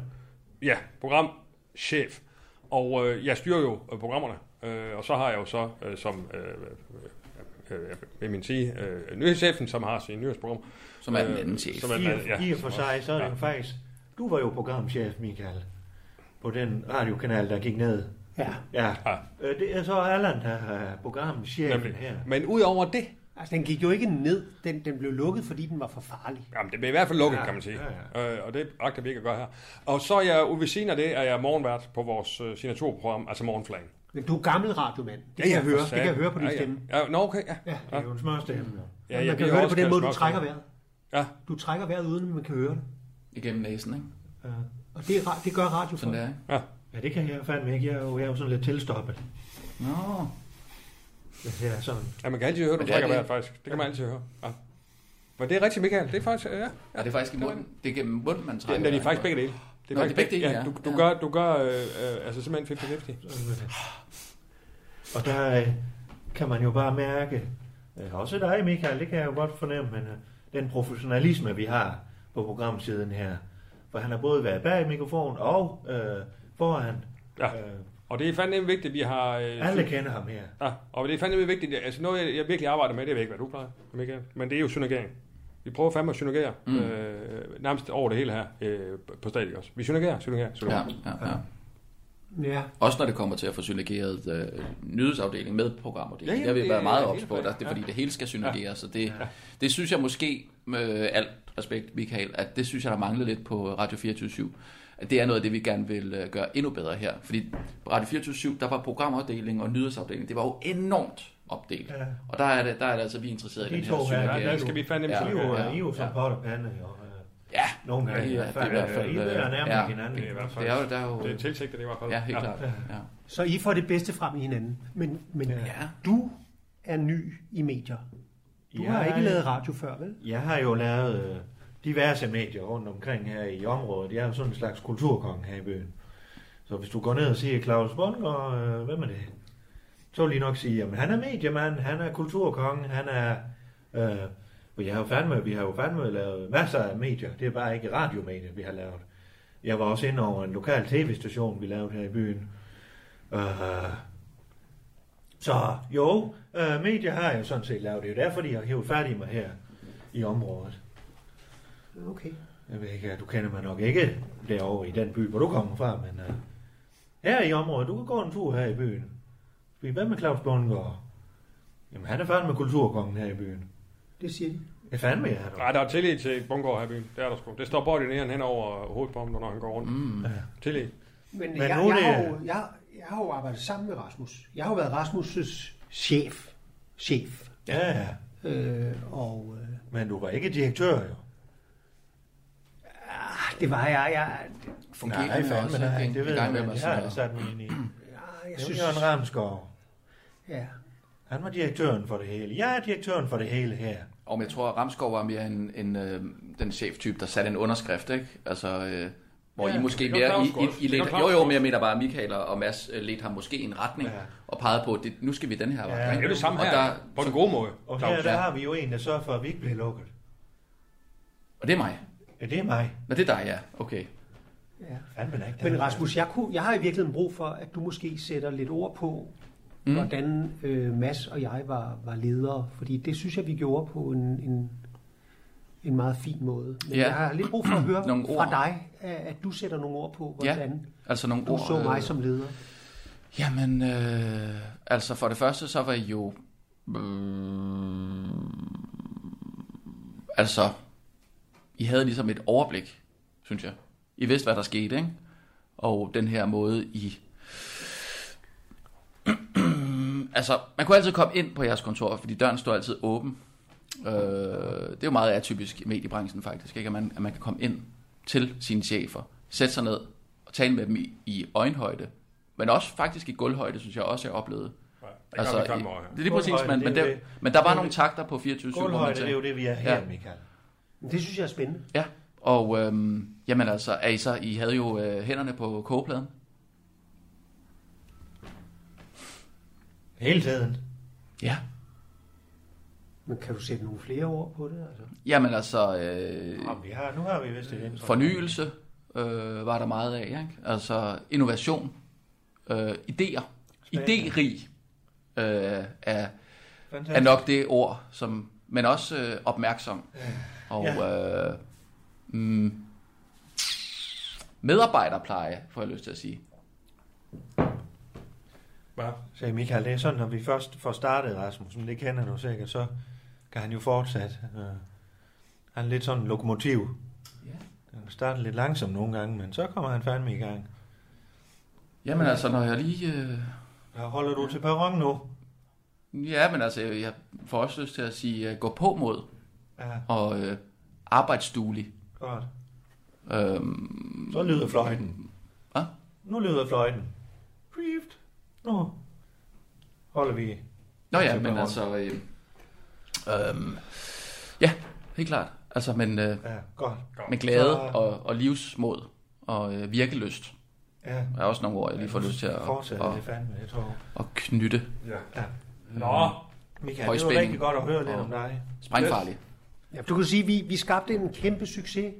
Speaker 3: Ja, programchef. Og øh, jeg styrer jo øh, programmerne, øh, og så har jeg jo så øh, som, øh, øh, øh, vil man sige, øh, nyhedschefen, som har sin nyhedsprogram.
Speaker 6: Som er den
Speaker 4: Øh,
Speaker 6: anden chef.
Speaker 3: Som er den anden, ja.
Speaker 4: I og for sig, så er det jo faktisk... Du var jo programchef, Michael, på den radiokanal, der gik ned.
Speaker 7: Ja.
Speaker 4: Ja.
Speaker 3: Ja.
Speaker 4: Øh, Det er så Allan, der er programchefen her.
Speaker 3: Nemlig. Men udover det,
Speaker 7: Altså, den gik jo ikke ned. Den, den blev lukket, fordi den var for farlig.
Speaker 3: Jamen, det blev i hvert fald lukket,
Speaker 4: Ja,
Speaker 3: kan man sige.
Speaker 4: ja,
Speaker 3: Ja, ja. Øh, og det agter vi ikke at gøre her. Og så er jeg, ude ved siden af det, er jeg morgenvært på vores øh, signaturprogram, altså Morgenflagen.
Speaker 7: Men du er gammel radiomand. Det kan jeg høre. Det kan jeg høre på din
Speaker 3: ja, ja.
Speaker 7: stemme.
Speaker 3: Ja, nå, okay, ja. ja,
Speaker 4: Det er jo en smørstemme. jo.
Speaker 3: ja
Speaker 7: man
Speaker 3: jeg
Speaker 7: kan
Speaker 3: bliver
Speaker 7: høre det
Speaker 3: også
Speaker 7: på den
Speaker 3: kaldt
Speaker 7: måde, du
Speaker 3: smørkål.
Speaker 7: trækker vejret.
Speaker 3: Ja,
Speaker 7: Du trækker vejret uden, at man kan høre det.
Speaker 6: Igennem næsen, ikke?
Speaker 7: Og det, er, ra- det gør radio for.
Speaker 6: Sådan der, ikke?
Speaker 3: ja.
Speaker 4: Ja, det kan jeg fandme ikke. Jeg er jo, jeg er jo sådan lidt tilstoppet.
Speaker 6: Nå,
Speaker 4: hvis Jeg er sådan.
Speaker 3: ja, man kan altid høre, du
Speaker 6: Men det er
Speaker 3: trækker
Speaker 6: det.
Speaker 3: vejret, faktisk. Det kan man altid høre. Ja. Men det er rigtigt, Michael. Det er faktisk, ja.
Speaker 6: ja, det er faktisk i munden. Det er gennem munden, man
Speaker 3: Ja,
Speaker 6: trækker.
Speaker 3: men det er faktisk begge dele. Det
Speaker 6: Nå, det er begge dele,
Speaker 3: ja.
Speaker 6: ja.
Speaker 3: Du, du
Speaker 6: Ja.
Speaker 3: gør, du gør øh, øh, altså simpelthen 50-50.
Speaker 4: Og der øh, kan man jo bare mærke, øh, også dig Michael, det kan jeg jo godt fornemme, men øh, den professionalisme vi har på programsiden her, for han har både været bag mikrofonen og øh, foran.
Speaker 3: Ja.
Speaker 4: Øh,
Speaker 3: Og det er fandme vigtigt, at vi har... Øh,
Speaker 4: alle kender ham her.
Speaker 3: Ja, og det er fandme vigtigt. Altså noget, jeg, jeg virkelig arbejder med, det ved jeg ikke, hvad du plejer, Michael. Men det er jo synergering. Vi prøver fandme at synergere mm. øh, nærmest over det hele her øh, på stadion også. Vi synergerer, synergerer,
Speaker 6: Ja,
Speaker 3: synergerer. Ja.
Speaker 6: ja, ja.
Speaker 7: Ja.
Speaker 6: Også når det kommer til at få synergeret øh, nyhedsafdeling med
Speaker 3: Ja,
Speaker 6: programafdelingen.
Speaker 3: jamen,
Speaker 6: Ja, vi
Speaker 3: det
Speaker 6: været meget
Speaker 3: er
Speaker 6: ops
Speaker 3: helt
Speaker 6: på,
Speaker 3: fair.
Speaker 6: der, det er fordi, det hele skal synergere. Så det, det synes jeg måske, med alt respekt Michael, at det synes jeg, der manglede lidt på Radio 24 at det er noget af det, vi gerne vil øh, gøre endnu bedre her. Fordi på Radio 24 der var programafdelingen og nyhedsafdelingen, det var jo enormt opdelt.
Speaker 4: Ja.
Speaker 6: Og der er det, der er det altså, vi er interesseret i
Speaker 4: De
Speaker 6: den her
Speaker 4: to her,
Speaker 6: synergering.
Speaker 3: Der skal vi fandme
Speaker 6: Ja.
Speaker 4: I er jo,
Speaker 3: synergere.
Speaker 4: I er jo som pot og pande, jo. øh,
Speaker 6: Ja,
Speaker 4: Nogle
Speaker 6: ja,
Speaker 4: gange.
Speaker 6: det er i hvert fald...
Speaker 4: I er ved at
Speaker 6: øh,
Speaker 4: nærme
Speaker 6: ja,
Speaker 4: hinanden.
Speaker 3: Det er i hvert fald.
Speaker 6: Det er jo, der er jo,
Speaker 3: Det er tilsigtet i hvert fald.
Speaker 6: ja, helt klart. Ja.
Speaker 7: Så I får det bedste frem i hinanden. Men, men
Speaker 6: Ja.
Speaker 7: du er ny i medier. Du har
Speaker 4: Jeg-
Speaker 7: ikke lavet radio før, vel?
Speaker 4: Jeg har jo lavet øh, diverse medier rundt omkring her i området. Jeg er jo sådan en slags kulturkonge her i byen. Så hvis du går ned og siger Claus Bundgaard, øh, hvem er det? Så vil de nok sige, at han er mediemand, han er kulturkonge, han er... Øh, og jeg har jo fandme, vi har jo fandme lavet masser af medier. Det er bare ikke radiomedier, vi har lavet. Jeg var også inde over en lokal tv-station, vi lavede her i byen. Øh, så jo, øh, medier har jeg jo sådan set lavet. Det er jo derfor, de har hævet fat i mig her i området.
Speaker 7: Okay.
Speaker 4: Jeg ved ikke, du kender mig nok ikke derovre i den by, hvor du kommer fra, men uh, her i området, du kan gå en tur her i byen. Fordi Hvad med Claus Bundgaard? Jamen, han er fandme kulturkongen her i byen.
Speaker 7: Det siger de.
Speaker 4: Jeg fandme jeg er der.
Speaker 3: Nej, der er tillid til Bungård her i byen. Det er der sgu. Det står bordet hen over hovedet på ham, når han går rundt. Mm. Tillid.
Speaker 7: Men,
Speaker 4: Men
Speaker 7: Men jeg,
Speaker 4: nu er
Speaker 7: jeg, har
Speaker 4: det-
Speaker 7: jo, jeg, jeg har jo arbejdet sammen med Rasmus. Jeg har jo været Rasmus' chef. Chef.
Speaker 4: Ja, ja.
Speaker 7: Øh, og øh,
Speaker 4: Men du var ikke direktør, jo.
Speaker 7: ah, det var jeg. Jeg,
Speaker 6: Fungerer
Speaker 4: Nej,
Speaker 6: det
Speaker 4: fandme
Speaker 6: også?
Speaker 4: nej,
Speaker 6: ikke?
Speaker 4: det ved
Speaker 6: En gang
Speaker 4: jeg, altså. men
Speaker 6: imellem
Speaker 4: jeg har
Speaker 6: sådan noget.
Speaker 4: aldrig sat mig ind i.
Speaker 7: jeg, jeg
Speaker 4: Jeg synes,
Speaker 7: synes...
Speaker 4: Jørgen Ramsgaard,
Speaker 7: Ja.
Speaker 4: han var direktøren for det hele. Jeg er direktøren for det hele her.
Speaker 6: Og jeg tror, at Ramskov var mere en, en, øh, den cheftype, der satte en underskrift, ikke? Altså, øh, hvor
Speaker 3: Ja,
Speaker 6: ja, I måske
Speaker 3: det gør
Speaker 6: mere... I,
Speaker 3: Claus
Speaker 6: I,
Speaker 3: godt.
Speaker 6: I
Speaker 3: Det
Speaker 6: ledte,
Speaker 3: gør Claus
Speaker 6: jo, jo,
Speaker 3: godt.
Speaker 6: men jeg mener bare, at Michael og Mads øh, ledte ham måske i en retning,
Speaker 4: Ja.
Speaker 6: ja. og pegede på, at det, nu skal vi den her vej.
Speaker 4: Ja,
Speaker 3: Det er det samme
Speaker 6: og
Speaker 3: her,
Speaker 6: Der,
Speaker 3: på den gode måde.
Speaker 4: Og
Speaker 3: Claus.
Speaker 4: her, der
Speaker 6: ja.
Speaker 4: har vi jo en, der sørger for, at vi ikke bliver lukket.
Speaker 6: og det er mig.
Speaker 4: Ja, det er mig.
Speaker 6: Nå, det er dig, ja. Okay.
Speaker 7: ja.
Speaker 4: Fandme da ikke.
Speaker 7: Men Rasmus, jeg, kunne, jeg har i virkeligheden brug for, at du måske sætter lidt ord på, mm. hvordan øh, Mads og jeg var, var ledere. Fordi det synes jeg, vi gjorde på en, en, en meget fin måde. Men
Speaker 6: Ja.
Speaker 7: jeg har lidt brug for at høre
Speaker 6: Nogle
Speaker 7: fra
Speaker 6: ord.
Speaker 7: dig, at at du sætter nogle ord på,
Speaker 6: Ja.
Speaker 7: hvordan ja.
Speaker 6: Altså nogle
Speaker 7: du
Speaker 6: ord,
Speaker 7: så mig
Speaker 6: øh,
Speaker 7: som leder.
Speaker 6: Jamen, øh, altså for det første, så var I jo... Øh, altså, I havde ligesom et overblik, synes jeg. I vidste, hvad der skete, ikke? Og den her måde, I... altså, man kunne altid komme ind på jeres kontor, fordi døren står altid åben. Øh, det er jo meget atypisk i mediebranchen faktisk, ikke? At, man, at man kan komme ind til sine chefer, sætte sig ned og tale med dem i, i øjenhøjde, men også faktisk i gulvhøjde, synes jeg også, jeg oplevede.
Speaker 3: Nej, det altså,
Speaker 6: i,
Speaker 3: kan
Speaker 6: det
Speaker 3: man
Speaker 6: er lige præcis,
Speaker 4: Gulvhøjde,
Speaker 6: men,
Speaker 4: det er
Speaker 6: men,
Speaker 4: jo
Speaker 6: der,
Speaker 4: det.
Speaker 6: men der
Speaker 4: Det er
Speaker 6: var
Speaker 4: jo
Speaker 6: nogle
Speaker 4: det.
Speaker 6: takter på 24
Speaker 4: Gulvhøjde, det er jo det, vi er her, ja. Michael.
Speaker 7: Men det synes jeg er spændende.
Speaker 6: Ja, og øhm, jamen altså, er I så, I havde jo øh, hænderne på kogepladen.
Speaker 4: Hele tiden.
Speaker 6: Ja.
Speaker 7: Men kan du sætte nogle flere ord på det? Altså?
Speaker 6: Jamen altså, øh,
Speaker 4: Jamen, vi har, nu har vi vist et indtryk.
Speaker 6: fornyelse øh, var der meget af, ikke? Altså innovation, øh, idéer, idérig øh, er, er
Speaker 4: Fantastisk.
Speaker 6: nok det ord, som, men også øh, opmærksom. Og øh, mm, medarbejderpleje, får jeg lyst til at sige.
Speaker 3: Hvad?
Speaker 4: Sagde Michael, det er sådan, når vi først får startet Rasmussen, det kender du sikkert, så kan han jo fortsætte. Øh, han er lidt sådan en lokomotiv.
Speaker 6: Ja.
Speaker 4: Han starter lidt langsomt nogle gange, men så kommer han fandme i gang.
Speaker 6: Jamen altså, når jeg lige... Øh,
Speaker 4: Der holder du til perron nu.
Speaker 6: ja, men altså, jeg får også lyst til at sige, øh, gå på mod
Speaker 4: Ja,
Speaker 6: og øh, arbejdsduelig.
Speaker 4: godt.
Speaker 6: Øhm,
Speaker 4: Så lyder fløjten.
Speaker 6: Hvad?
Speaker 4: Nu lyder fløjten. Brieft. Nu holder vi.
Speaker 6: Nå ja,
Speaker 4: Altså,
Speaker 6: men
Speaker 4: på
Speaker 6: altså... Øh, øhm, ja, helt klart. Altså, men øh,
Speaker 4: Ja, godt.
Speaker 6: med glæde
Speaker 4: Så-
Speaker 6: og, og livsmod og øh, virkelyst.
Speaker 4: Ja.
Speaker 6: Der er også nogle ord, jeg lige får lyst til at,
Speaker 4: Fortsætte det
Speaker 6: at,
Speaker 4: fandme, jeg tror.
Speaker 6: at knytte.
Speaker 3: Ja.
Speaker 4: Ja.
Speaker 3: Nå,
Speaker 4: Michael, det var
Speaker 6: Højspænding.
Speaker 4: rigtig godt at høre lidt
Speaker 6: Og-
Speaker 4: om dig.
Speaker 6: Sprængfarlig.
Speaker 7: Ja, du kan sige, at vi, vi skabte en kæmpe succes.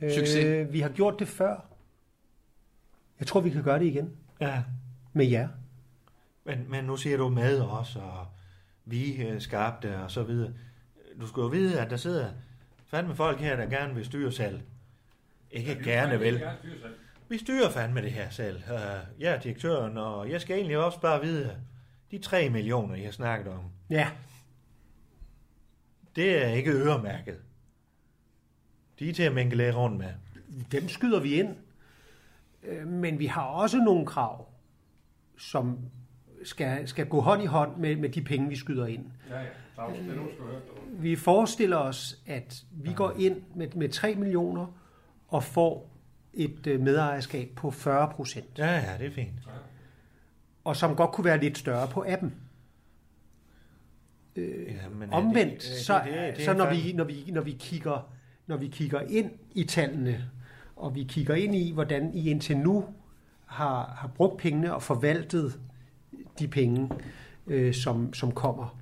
Speaker 4: Ja.
Speaker 6: Succes.
Speaker 7: Øh, vi har gjort det før. Jeg tror, vi kan gøre det igen
Speaker 4: ja.
Speaker 7: med jer.
Speaker 4: Men, men nu siger du med os, og vi øh, skabte, og så videre. Du skal jo vide, at der sidder fandme folk her, der gerne vil styre selv. Ikke gerne vil. Vi styrer fandme det her selv. Øh, Jeg er direktøren, og jeg skal egentlig også bare vide, de 3 millioner, jeg har snakket om,
Speaker 7: Ja.
Speaker 4: det er ikke øremærket. De er til at mingle rundt med.
Speaker 7: dem skyder vi ind. Øh, Men vi har også nogle krav, som skal, skal gå hånd i hånd med, med de penge, vi skyder ind.
Speaker 3: Ja, ja. Claus, det er nu, du skal høre.
Speaker 7: Vi forestiller os, at vi går ind med, med 3 millioner og får et øh, medejerskab på 40 procent,
Speaker 4: Ja, ja, det er fint.
Speaker 7: og som godt kunne være lidt større på appen.
Speaker 4: Ja, men er det-
Speaker 7: Øh, Omvendt,
Speaker 4: er
Speaker 7: så,
Speaker 4: det- det- det er
Speaker 7: så når,
Speaker 4: fandme-
Speaker 7: vi, når, vi, når, vi kigger, når vi kigger ind i tallene, og vi kigger ind i, hvordan I indtil nu har, har brugt pengene og forvaltet de penge, øh, som, som kommer,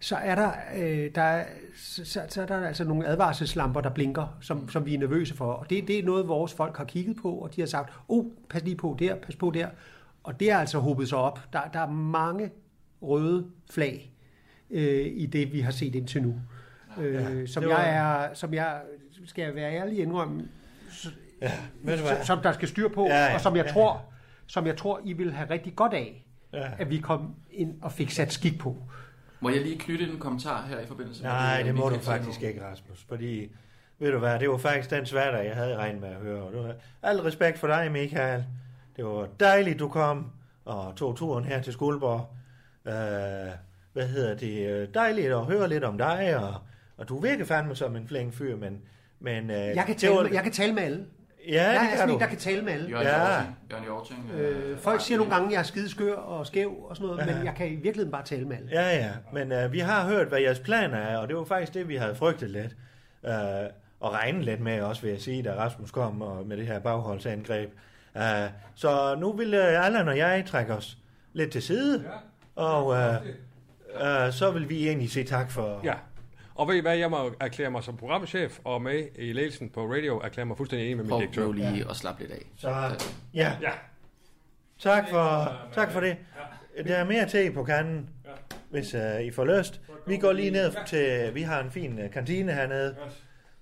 Speaker 7: så er der, øh, der, er, så, så- så er der altså nogle advarselslamper, der blinker, som, som vi er nervøse for. Og det, det er noget, vores folk har kigget på, og de har sagt, oh, pas lige på der, pas på der. Og det er altså hobet sig op. Der, der er mange røde flag øh, i det, vi har set indtil nu. Øh,
Speaker 4: Ja,
Speaker 7: som,
Speaker 4: det var-
Speaker 7: jeg er, som jeg, skal jeg være ærlig indrømme,
Speaker 4: Ved du hvad?
Speaker 7: som, som der skal styr på,
Speaker 4: Ja, ja,
Speaker 7: og som jeg,
Speaker 4: ja,
Speaker 7: tror, som jeg tror, I vil have rigtig godt af,
Speaker 4: Ja.
Speaker 7: at vi kom ind og fik sat skik på.
Speaker 6: Må jeg lige knytte en kommentar her i forbindelse med
Speaker 4: Nej,
Speaker 6: øh,
Speaker 4: det må
Speaker 6: Michael
Speaker 4: du
Speaker 6: sagde
Speaker 4: faktisk
Speaker 6: nu?
Speaker 4: ikke, Rasmus. Fordi, ved du hvad, det var faktisk den svætter, jeg havde regnet med at høre. Og Du, al respekt for dig, Michael. Det var dejligt, du kom og tog turen her til Skuldborg. Øh, hvad hedder det? øh, Dejligt at høre lidt om dig, og, og du virker fandme som en flink fyr, men... men øh,
Speaker 7: Jeg kan
Speaker 4: det
Speaker 7: tale,
Speaker 4: var-
Speaker 7: med, jeg kan tale med alle.
Speaker 4: Ja,
Speaker 7: jeg
Speaker 4: det
Speaker 7: er
Speaker 4: kan
Speaker 7: sådan en,
Speaker 4: du.
Speaker 7: der kan tale med alle.
Speaker 6: Jørgen
Speaker 4: Ja.
Speaker 6: Jorting. Jørgen Jorting.
Speaker 7: Øh, folk siger nogle gange, at jeg er skideskør og skæv og sådan noget, men jeg kan i virkeligheden bare tale med alle.
Speaker 4: Ja, ja. Men øh, vi har hørt, hvad jeres planer er, og det var faktisk det, vi havde frygtet lidt. Øh, og regnet lidt med også, vil jeg sige, da Rasmus kom og med det her bagholdsangreb. Øh, så nu vil øh, Allan og jeg trække os lidt til side, og øh, øh, så vil vi egentlig sige tak for...
Speaker 3: Ja. Og ved I hvad, jeg må erklære mig som programchef, og med i ledelsen på radio erklære mig fuldstændig enig med min
Speaker 6: Prøv
Speaker 3: direktør.
Speaker 6: nu lige at slappe lidt af.
Speaker 4: Så, ja,
Speaker 3: Ja,
Speaker 4: tak for, tak for det. Der er mere te på kanden. hvis øh, I får lyst. Vi går lige ned til, vi har en fin øh, kantine hernede.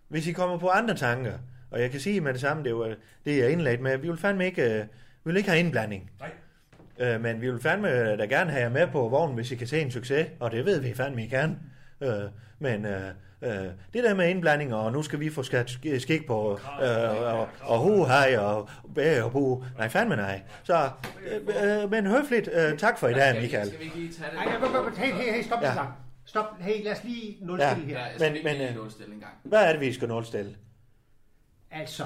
Speaker 4: Hvis I kommer på andre tanker, og jeg kan sige med det samme, det er jo øh, det, jeg er indladt med, vi vil fandme ikke, øh, vi vil ikke have indblanding.
Speaker 3: Nej.
Speaker 4: Øh, men vi vil fandme øh, da gerne have jer med på vognen, hvis I kan se en succes, og det ved vi fandme, I kan. Øh, men øh, øh, det der med indblanding, og nu skal vi få skat, sk- skik på, øh, og, og hu, hej, og bæ, og bu, nej fandme nej. Så, øh, øh, men høfligt, øh, tak for i dag, Michael.
Speaker 6: Skal vi ikke lige tage det?
Speaker 7: Ej, hey, hey, hey, hey, stop
Speaker 4: Ja.
Speaker 7: ja. gang. Stop, hey, lad os lige nulstille
Speaker 4: Ja.
Speaker 7: her.
Speaker 6: Ja, men,
Speaker 4: Men-
Speaker 6: men,
Speaker 4: men, øh,
Speaker 6: lige nulstille en gang.
Speaker 4: Hvad er det, vi skal nulstille?
Speaker 7: Altså,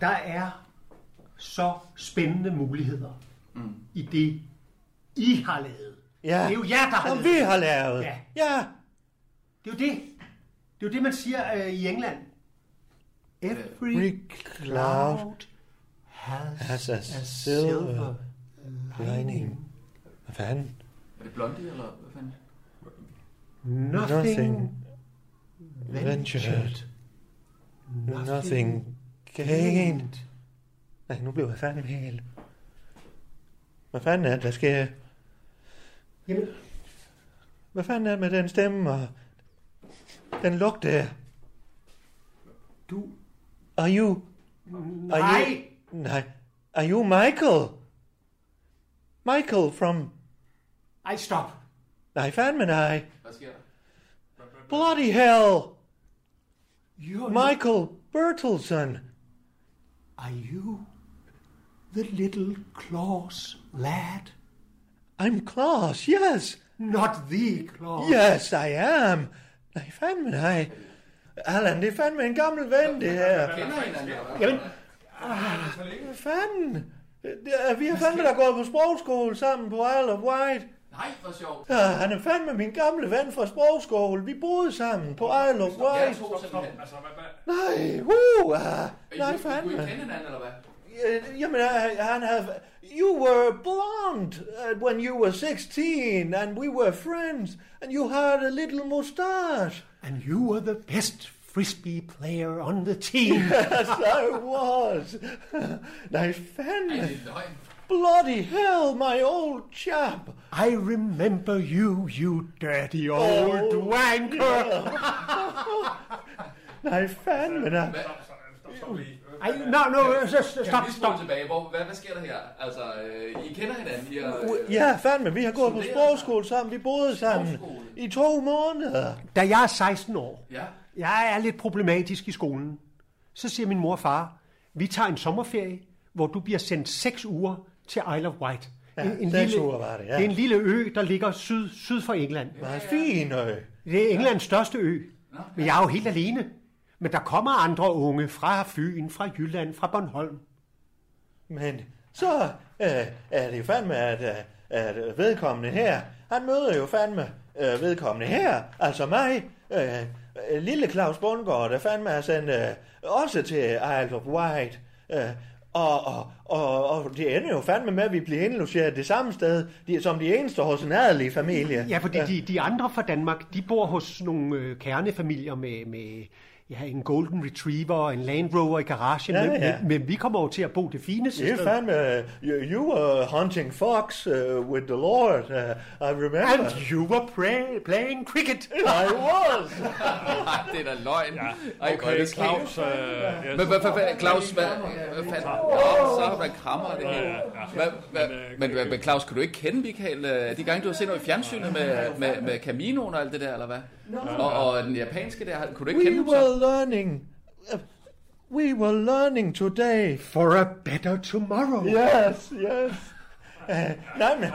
Speaker 7: der er så spændende muligheder mm. i det, I har lavet.
Speaker 4: Ja.
Speaker 7: Det er jo jer, der har
Speaker 4: Som
Speaker 7: lavet.
Speaker 4: vi
Speaker 7: det.
Speaker 4: har lavet.
Speaker 7: Ja.
Speaker 4: ja.
Speaker 7: Det er jo det. Det er jo det, man siger øh, i England. Every
Speaker 4: cloud
Speaker 7: cloud has,
Speaker 4: has a
Speaker 7: a
Speaker 4: silver
Speaker 7: silver lining.
Speaker 4: lining. Hvad fanden?
Speaker 6: Er det blondie, eller hvad fanden?
Speaker 7: Nothing
Speaker 4: Nothing
Speaker 7: ventured.
Speaker 4: Nothing gained.
Speaker 7: gained.
Speaker 4: Nej, nu blev jeg fandme helt... Hvad fanden er det, der sker?
Speaker 7: Jamen,
Speaker 4: Hvad fanden er det med den stemme og den lugt der?
Speaker 7: du...
Speaker 4: Are you... Are You,
Speaker 7: Nej!
Speaker 4: nej. Are you Michael? Michael from...
Speaker 7: Ej, stop.
Speaker 4: Nej, fandme nej.
Speaker 6: Hvad sker der?
Speaker 4: Bloody hell!
Speaker 7: You're
Speaker 4: Michael Bertelsen!
Speaker 7: Are you the little Claus lad?
Speaker 4: I'm Klaus, yes!
Speaker 7: Not the Claus.
Speaker 4: Yes, I am. Nej, fandme nej. Allan, det er fandme en gammel ven, det her.
Speaker 6: Altså, Kender I hinanden, eller hvad?
Speaker 7: Jamen,
Speaker 4: Hvad fanden? Det er- Vi har fandme da gået på sprogskole sammen på Isle of Wight.
Speaker 6: Nej, hvor sjovt.
Speaker 4: Ja, han er fandme min gamle ven fra sprogskole. Vi boede sammen på Isle of
Speaker 6: Jeg
Speaker 4: Wight.
Speaker 6: tog simpelthen.
Speaker 3: Altså, hvad, hvad?
Speaker 4: Nej, uh, ah.
Speaker 6: Er I-
Speaker 4: nej
Speaker 6: Kunne I
Speaker 4: fandme.
Speaker 6: kende hinanden, eller hvad?
Speaker 4: Øh, Jamen, øh, han havde... You were blonde uh, when you were 16, and we were friends, and you had a little mustache.
Speaker 7: and you were the best frisbee player on the team.
Speaker 4: Yes, I was. Nej,
Speaker 6: Ej,
Speaker 4: fandme.
Speaker 6: det er løgn.
Speaker 4: Bloody hell, my old chap.
Speaker 7: I remember you, you dirty old
Speaker 4: Oh,
Speaker 7: wanker.
Speaker 4: Nej, fandme da.
Speaker 6: Hvad?
Speaker 3: Stop, stop, stop lige.
Speaker 7: Ej, no, no, så, så,
Speaker 6: Kan vi
Speaker 7: stop,
Speaker 6: lige spole
Speaker 7: stop.
Speaker 6: tilbage? Hvor, hvad, hvad sker der her? Altså, øh, I kender hinanden? I har, øh,
Speaker 4: Ja, fandme, vi har gået på
Speaker 6: Studeret
Speaker 4: sprogskole sammen. Vi boede sammen
Speaker 6: Sprogskole?
Speaker 4: i to måneder.
Speaker 7: Da jeg er 16 år,
Speaker 6: ja.
Speaker 7: jeg er lidt problematisk i skolen, så siger min mor og far, vi tager en sommerferie, hvor du bliver sendt seks uger til Isle of Wight.
Speaker 4: Ja, seks uger var det, ja.
Speaker 7: det er en lille ø, der ligger syd, syd for England.
Speaker 4: Meget fin øh. ø.
Speaker 7: Det er Englands største ø. Men jeg er jo helt alene. Men der kommer andre unge fra Fyn, fra Jylland, fra Bornholm.
Speaker 4: Men så øh, er det jo fandme, at, øh, at vedkommende her, han møder jo fandme øh, vedkommende her, altså mig, øh, øh, lille Claus Bundgaard, der fandme er sendt øh, også til Isle of Wight. Øh, og, og, og, og det ender jo fandme med, at vi bliver indlogeret det samme sted, de, som de eneste hos en adelige familie.
Speaker 7: Ja, fordi de, de andre fra Danmark, de bor hos nogle øh, kernefamilier med, med ja, en Golden Retriever og en Land Rover i garagen.
Speaker 4: Ja,
Speaker 7: men,
Speaker 4: ja.
Speaker 7: Men, men vi kommer over til at bo det fineste
Speaker 4: You
Speaker 7: sted.
Speaker 4: found uh, you, you were hunting fox uh, with the Lord. Uh, I remember.
Speaker 7: And you were play, playing cricket.
Speaker 4: I was.
Speaker 6: Ej, det er da løgn.
Speaker 3: Ja,
Speaker 6: Ej, hvor er
Speaker 3: okay,
Speaker 6: det skægt.
Speaker 3: Claus. Øh, jeg
Speaker 6: Men hvad fanden, Claus, hvad hvad fanden? Nå, så har man krammer og det hele. Hvad- hvad-
Speaker 3: øh,
Speaker 6: Men hvad- men Claus, kunne du ikke kende Michael? øh, De gange, du har set noget i fjernsynet med, med, med Caminoen og alt det der, eller hvad? Og, og den japanske der, kunne du ikke kende
Speaker 4: we
Speaker 6: ham
Speaker 4: were
Speaker 6: så?
Speaker 4: learning. Uh, we were learning today.
Speaker 7: For a better tomorrow.
Speaker 4: Yes, yes. Uh, nej, men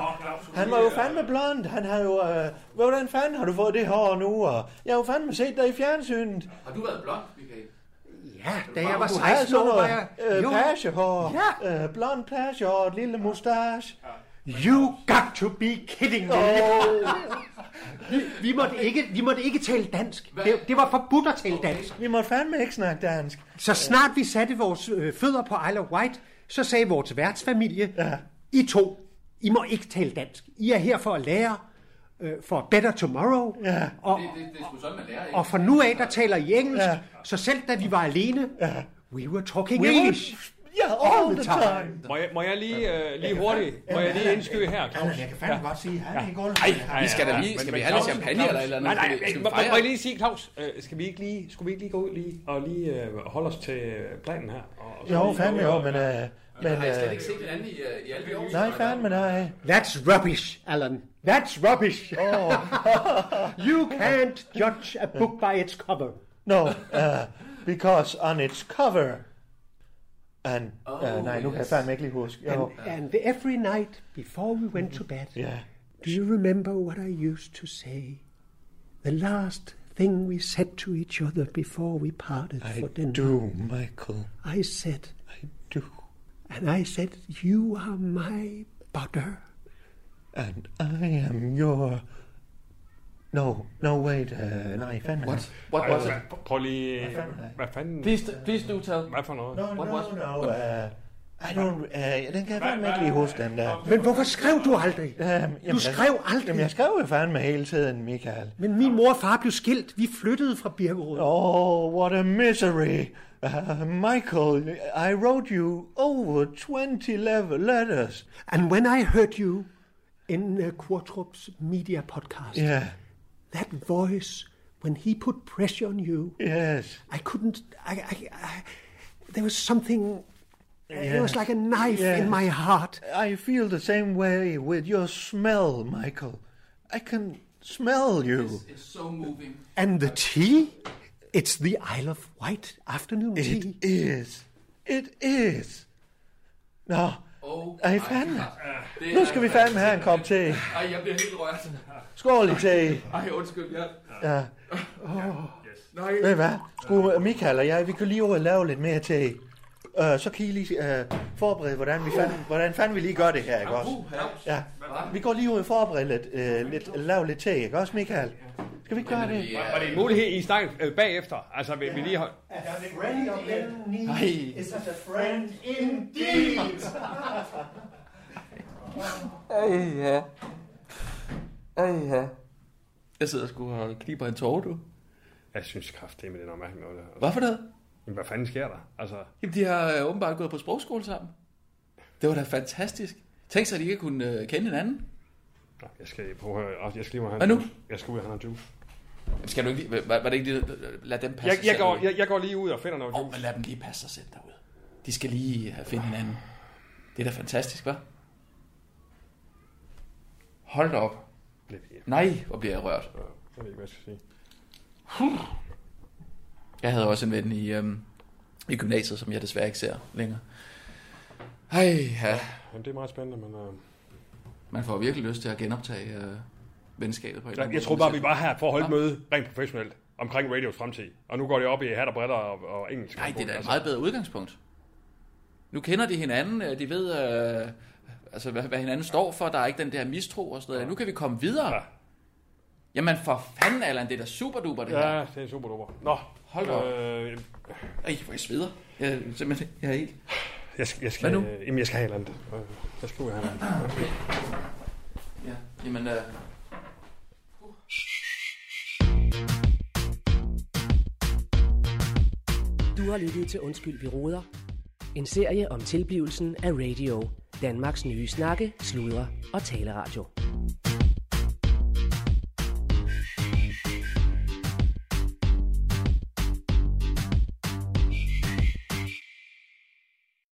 Speaker 4: han var jo fandme blond. Han har jo... Uh, hvordan fanden har du fået det hår nu? Og jeg har jo fandme set dig i fjernsynet.
Speaker 6: Har du været blond, Michael?
Speaker 7: Ja, da jeg var
Speaker 4: Du havde
Speaker 7: 16
Speaker 4: sådan
Speaker 7: år, var
Speaker 4: noget
Speaker 7: jeg...
Speaker 4: uh, pagehår.
Speaker 7: Ja.
Speaker 4: Uh, blond pagehår, et lille mustache.
Speaker 7: You got to be kidding me.
Speaker 4: Oh,
Speaker 7: Vi måtte ikke, vi måtte ikke tale dansk.
Speaker 6: Hvad?
Speaker 7: Det, det var forbudt at tale dansk.
Speaker 4: vi må fandme ikke snakke dansk.
Speaker 7: Så snart vi satte vores øh, fødder på Isle of Wight, så sagde vores værtsfamilie, ja. I to, I må ikke tale dansk. I er her for at lære øh, for a better tomorrow.
Speaker 4: Ja.
Speaker 7: Og,
Speaker 6: Det, det, det er sgu sådan, man lærer, ikke?
Speaker 7: og fra nu af, der taler I engelsk.
Speaker 4: Ja.
Speaker 7: Så selv da vi var alene, we were talking
Speaker 4: We
Speaker 7: English.
Speaker 4: were, ja, there all the time.
Speaker 3: Må jeg, må jeg lige, øh, lige hurtigt, må jeg lige indskyde her, Claus?
Speaker 5: Allan, jeg kan fandme godt sige, han er ikke under.
Speaker 6: Vi skal da lige, skal vi have lidt champagne eller et eller andet?
Speaker 3: Nej, nej,
Speaker 6: Skal vi
Speaker 3: må, må
Speaker 6: fejre?
Speaker 3: jeg lige sige, Claus, øh, skal vi ikke lige, skulle vi ikke lige gå ud lige, og lige øh, holde os til øh, planen her? Og, og så
Speaker 4: Jo,
Speaker 3: lige-
Speaker 4: fandme jo, men... Øh, men
Speaker 6: Har I slet
Speaker 4: øh,
Speaker 6: ikke set hinanden i, øh, i alle de år?
Speaker 4: nej, øh- fandme nej.
Speaker 7: That's rubbish, Alan. That's rubbish.
Speaker 4: Oh.
Speaker 7: you can't judge a book by its cover.
Speaker 4: No, uh, because on its cover... And, uh, nej, nu kan jeg
Speaker 6: yes.
Speaker 4: fandme ikke lige huske. Jo,
Speaker 7: And every night before we went to bed,
Speaker 4: ja.
Speaker 7: do you remember what I used to say? The last thing we said to each other before we parted
Speaker 4: I
Speaker 7: for dinner.
Speaker 4: do, Michael,
Speaker 7: I said,
Speaker 4: I do.
Speaker 7: and I said, you are my butter.
Speaker 4: And I am your... No, no, wait. Uh, nej, fandme nej.
Speaker 6: What? What was it?
Speaker 3: Prøv lige... Hvad fanden?
Speaker 6: Please, please do tell.
Speaker 3: Hvad for noget?
Speaker 4: No,
Speaker 6: What
Speaker 4: no,
Speaker 6: was-
Speaker 4: no. Uh, I don't, uh, den kan jeg fandme ikke lige huske, den der.
Speaker 7: Men hvorfor skrev du aldrig?
Speaker 4: Øhm, jamen,
Speaker 7: du skrev
Speaker 4: jeg-
Speaker 7: aldrig.
Speaker 4: Jamen, jeg skrev jo fandme hele tiden, Michael.
Speaker 7: Men min mor og far blev skilt. Vi flyttede fra Birkerød.
Speaker 4: Oh, what a misery. Uh, Michael, I wrote you over 20 lev- letters.
Speaker 7: And when I heard you in uh, Quatrup's media podcast,
Speaker 4: Yeah,
Speaker 7: that voice, when he put pressure on you,
Speaker 4: yes.
Speaker 7: I couldn't. I, I, I there was something. It
Speaker 4: Yeah.
Speaker 7: was like a knife
Speaker 4: Yeah.
Speaker 7: in my heart.
Speaker 4: I feel the same way with your smell, Michael. I can smell you.
Speaker 6: It's so moving.
Speaker 7: And the tea? It's the Isle of Wight afternoon tea.
Speaker 4: It is. It is. Nå,
Speaker 6: Oh,
Speaker 4: ej, fandme. Nu skal vi fandme have en kop te.
Speaker 6: altså Ej, jeg bliver helt rørt.
Speaker 4: Skål i te.
Speaker 6: Ej, undskyld, jeg...
Speaker 4: Ja.
Speaker 6: Nej,
Speaker 4: Ved I hvad? Skulle Michael og jeg, vi kunne lige over og lave lidt mere til. Uh, så kan I lige uh, forberede, hvordan, vi fand, hvordan fanden vi lige gør det her, ikke også?
Speaker 6: uh, ja.
Speaker 4: Ja. Vi går lige ud og forbereder lidt, uh, lidt, lave lidt til, ikke også, Michael? Skal vi ikke gøre det?
Speaker 3: Var det en mulighed, I snakkede øh, bagefter? Altså, vil vi lige holde...
Speaker 6: Ej,
Speaker 4: Is a friend indeed?
Speaker 6: Ej, ja. Ej, ja. Jeg sidder sgu og kniber en tårer, du.
Speaker 3: Jeg synes kraftigt med det er noget mærkeligt noget. der.
Speaker 6: Hvorfor det?
Speaker 3: Jamen, Hvad fanden sker der? Altså,
Speaker 6: Jamen, de har øh, åbenbart gået på sprogskole sammen. Det var da fantastisk. Tænk sig, at de ikke kunne øh, kende hinanden.
Speaker 3: nå, jeg skal prøve at høre. Jeg skal lige ud og have
Speaker 6: Hvad nu?
Speaker 3: en juice. Jeg skal ud og have en juice.
Speaker 6: Jamen, Skal du ikke lige, var, var det ikke lige, lad dem passe
Speaker 3: Jeg,
Speaker 6: sig
Speaker 3: jeg,
Speaker 6: selv
Speaker 3: går,
Speaker 6: ud.
Speaker 3: jeg, jeg går lige ud og finder noget
Speaker 6: Åh,
Speaker 3: juice.
Speaker 6: men lad dem lige passe sig selv derude. De skal lige have finde hinanden. Det er da fantastisk, hva'? Hold da op.
Speaker 3: Lidt i.
Speaker 6: Nej, hvor bliver jeg rørt.
Speaker 3: Jeg ved ikke, hvad jeg skal sige.
Speaker 6: Jeg havde også en ven i, øhm, i gymnasiet, som jeg desværre ikke ser længere. Hej, ja.
Speaker 3: Jamen, det er meget spændende, men... Øh...
Speaker 6: Man får virkelig lyst til at genoptage øh, venskabet på en eller
Speaker 3: Jeg,
Speaker 6: anden
Speaker 3: jeg
Speaker 6: måde.
Speaker 3: tror bare, vi var her for at holde et
Speaker 6: Nå.
Speaker 3: møde rent professionelt omkring radios fremtid. Og nu går det op i hat og briller og, og engelsk.
Speaker 6: Nej, det er da et
Speaker 3: Altså,
Speaker 6: meget bedre udgangspunkt. Nu kender de hinanden, øh, de ved, øh, altså, hvad, hvad hinanden står for, der er ikke den der mistro og sådan noget. Nu kan vi komme videre.
Speaker 3: Ja.
Speaker 6: Jamen for fanden, Allan, det er da super duper det her.
Speaker 3: Ja, det er super duper. Nå,
Speaker 6: Hold da op.
Speaker 3: Øh,
Speaker 6: Ej, hvor jeg sveder. Jeg, er simpelthen, jeg er helt...
Speaker 3: jeg, skal- jeg, skal,
Speaker 6: Hvad nu?
Speaker 3: øh, jamen, jeg skal have et eller andet. Øh, Jeg skal ud og have noget.
Speaker 6: Ja, jamen... Øh...
Speaker 1: Du har lyttet til Undskyld, vi råder. En serie om tilblivelsen af radio. Danmarks nye snakke, sludre og taleradio.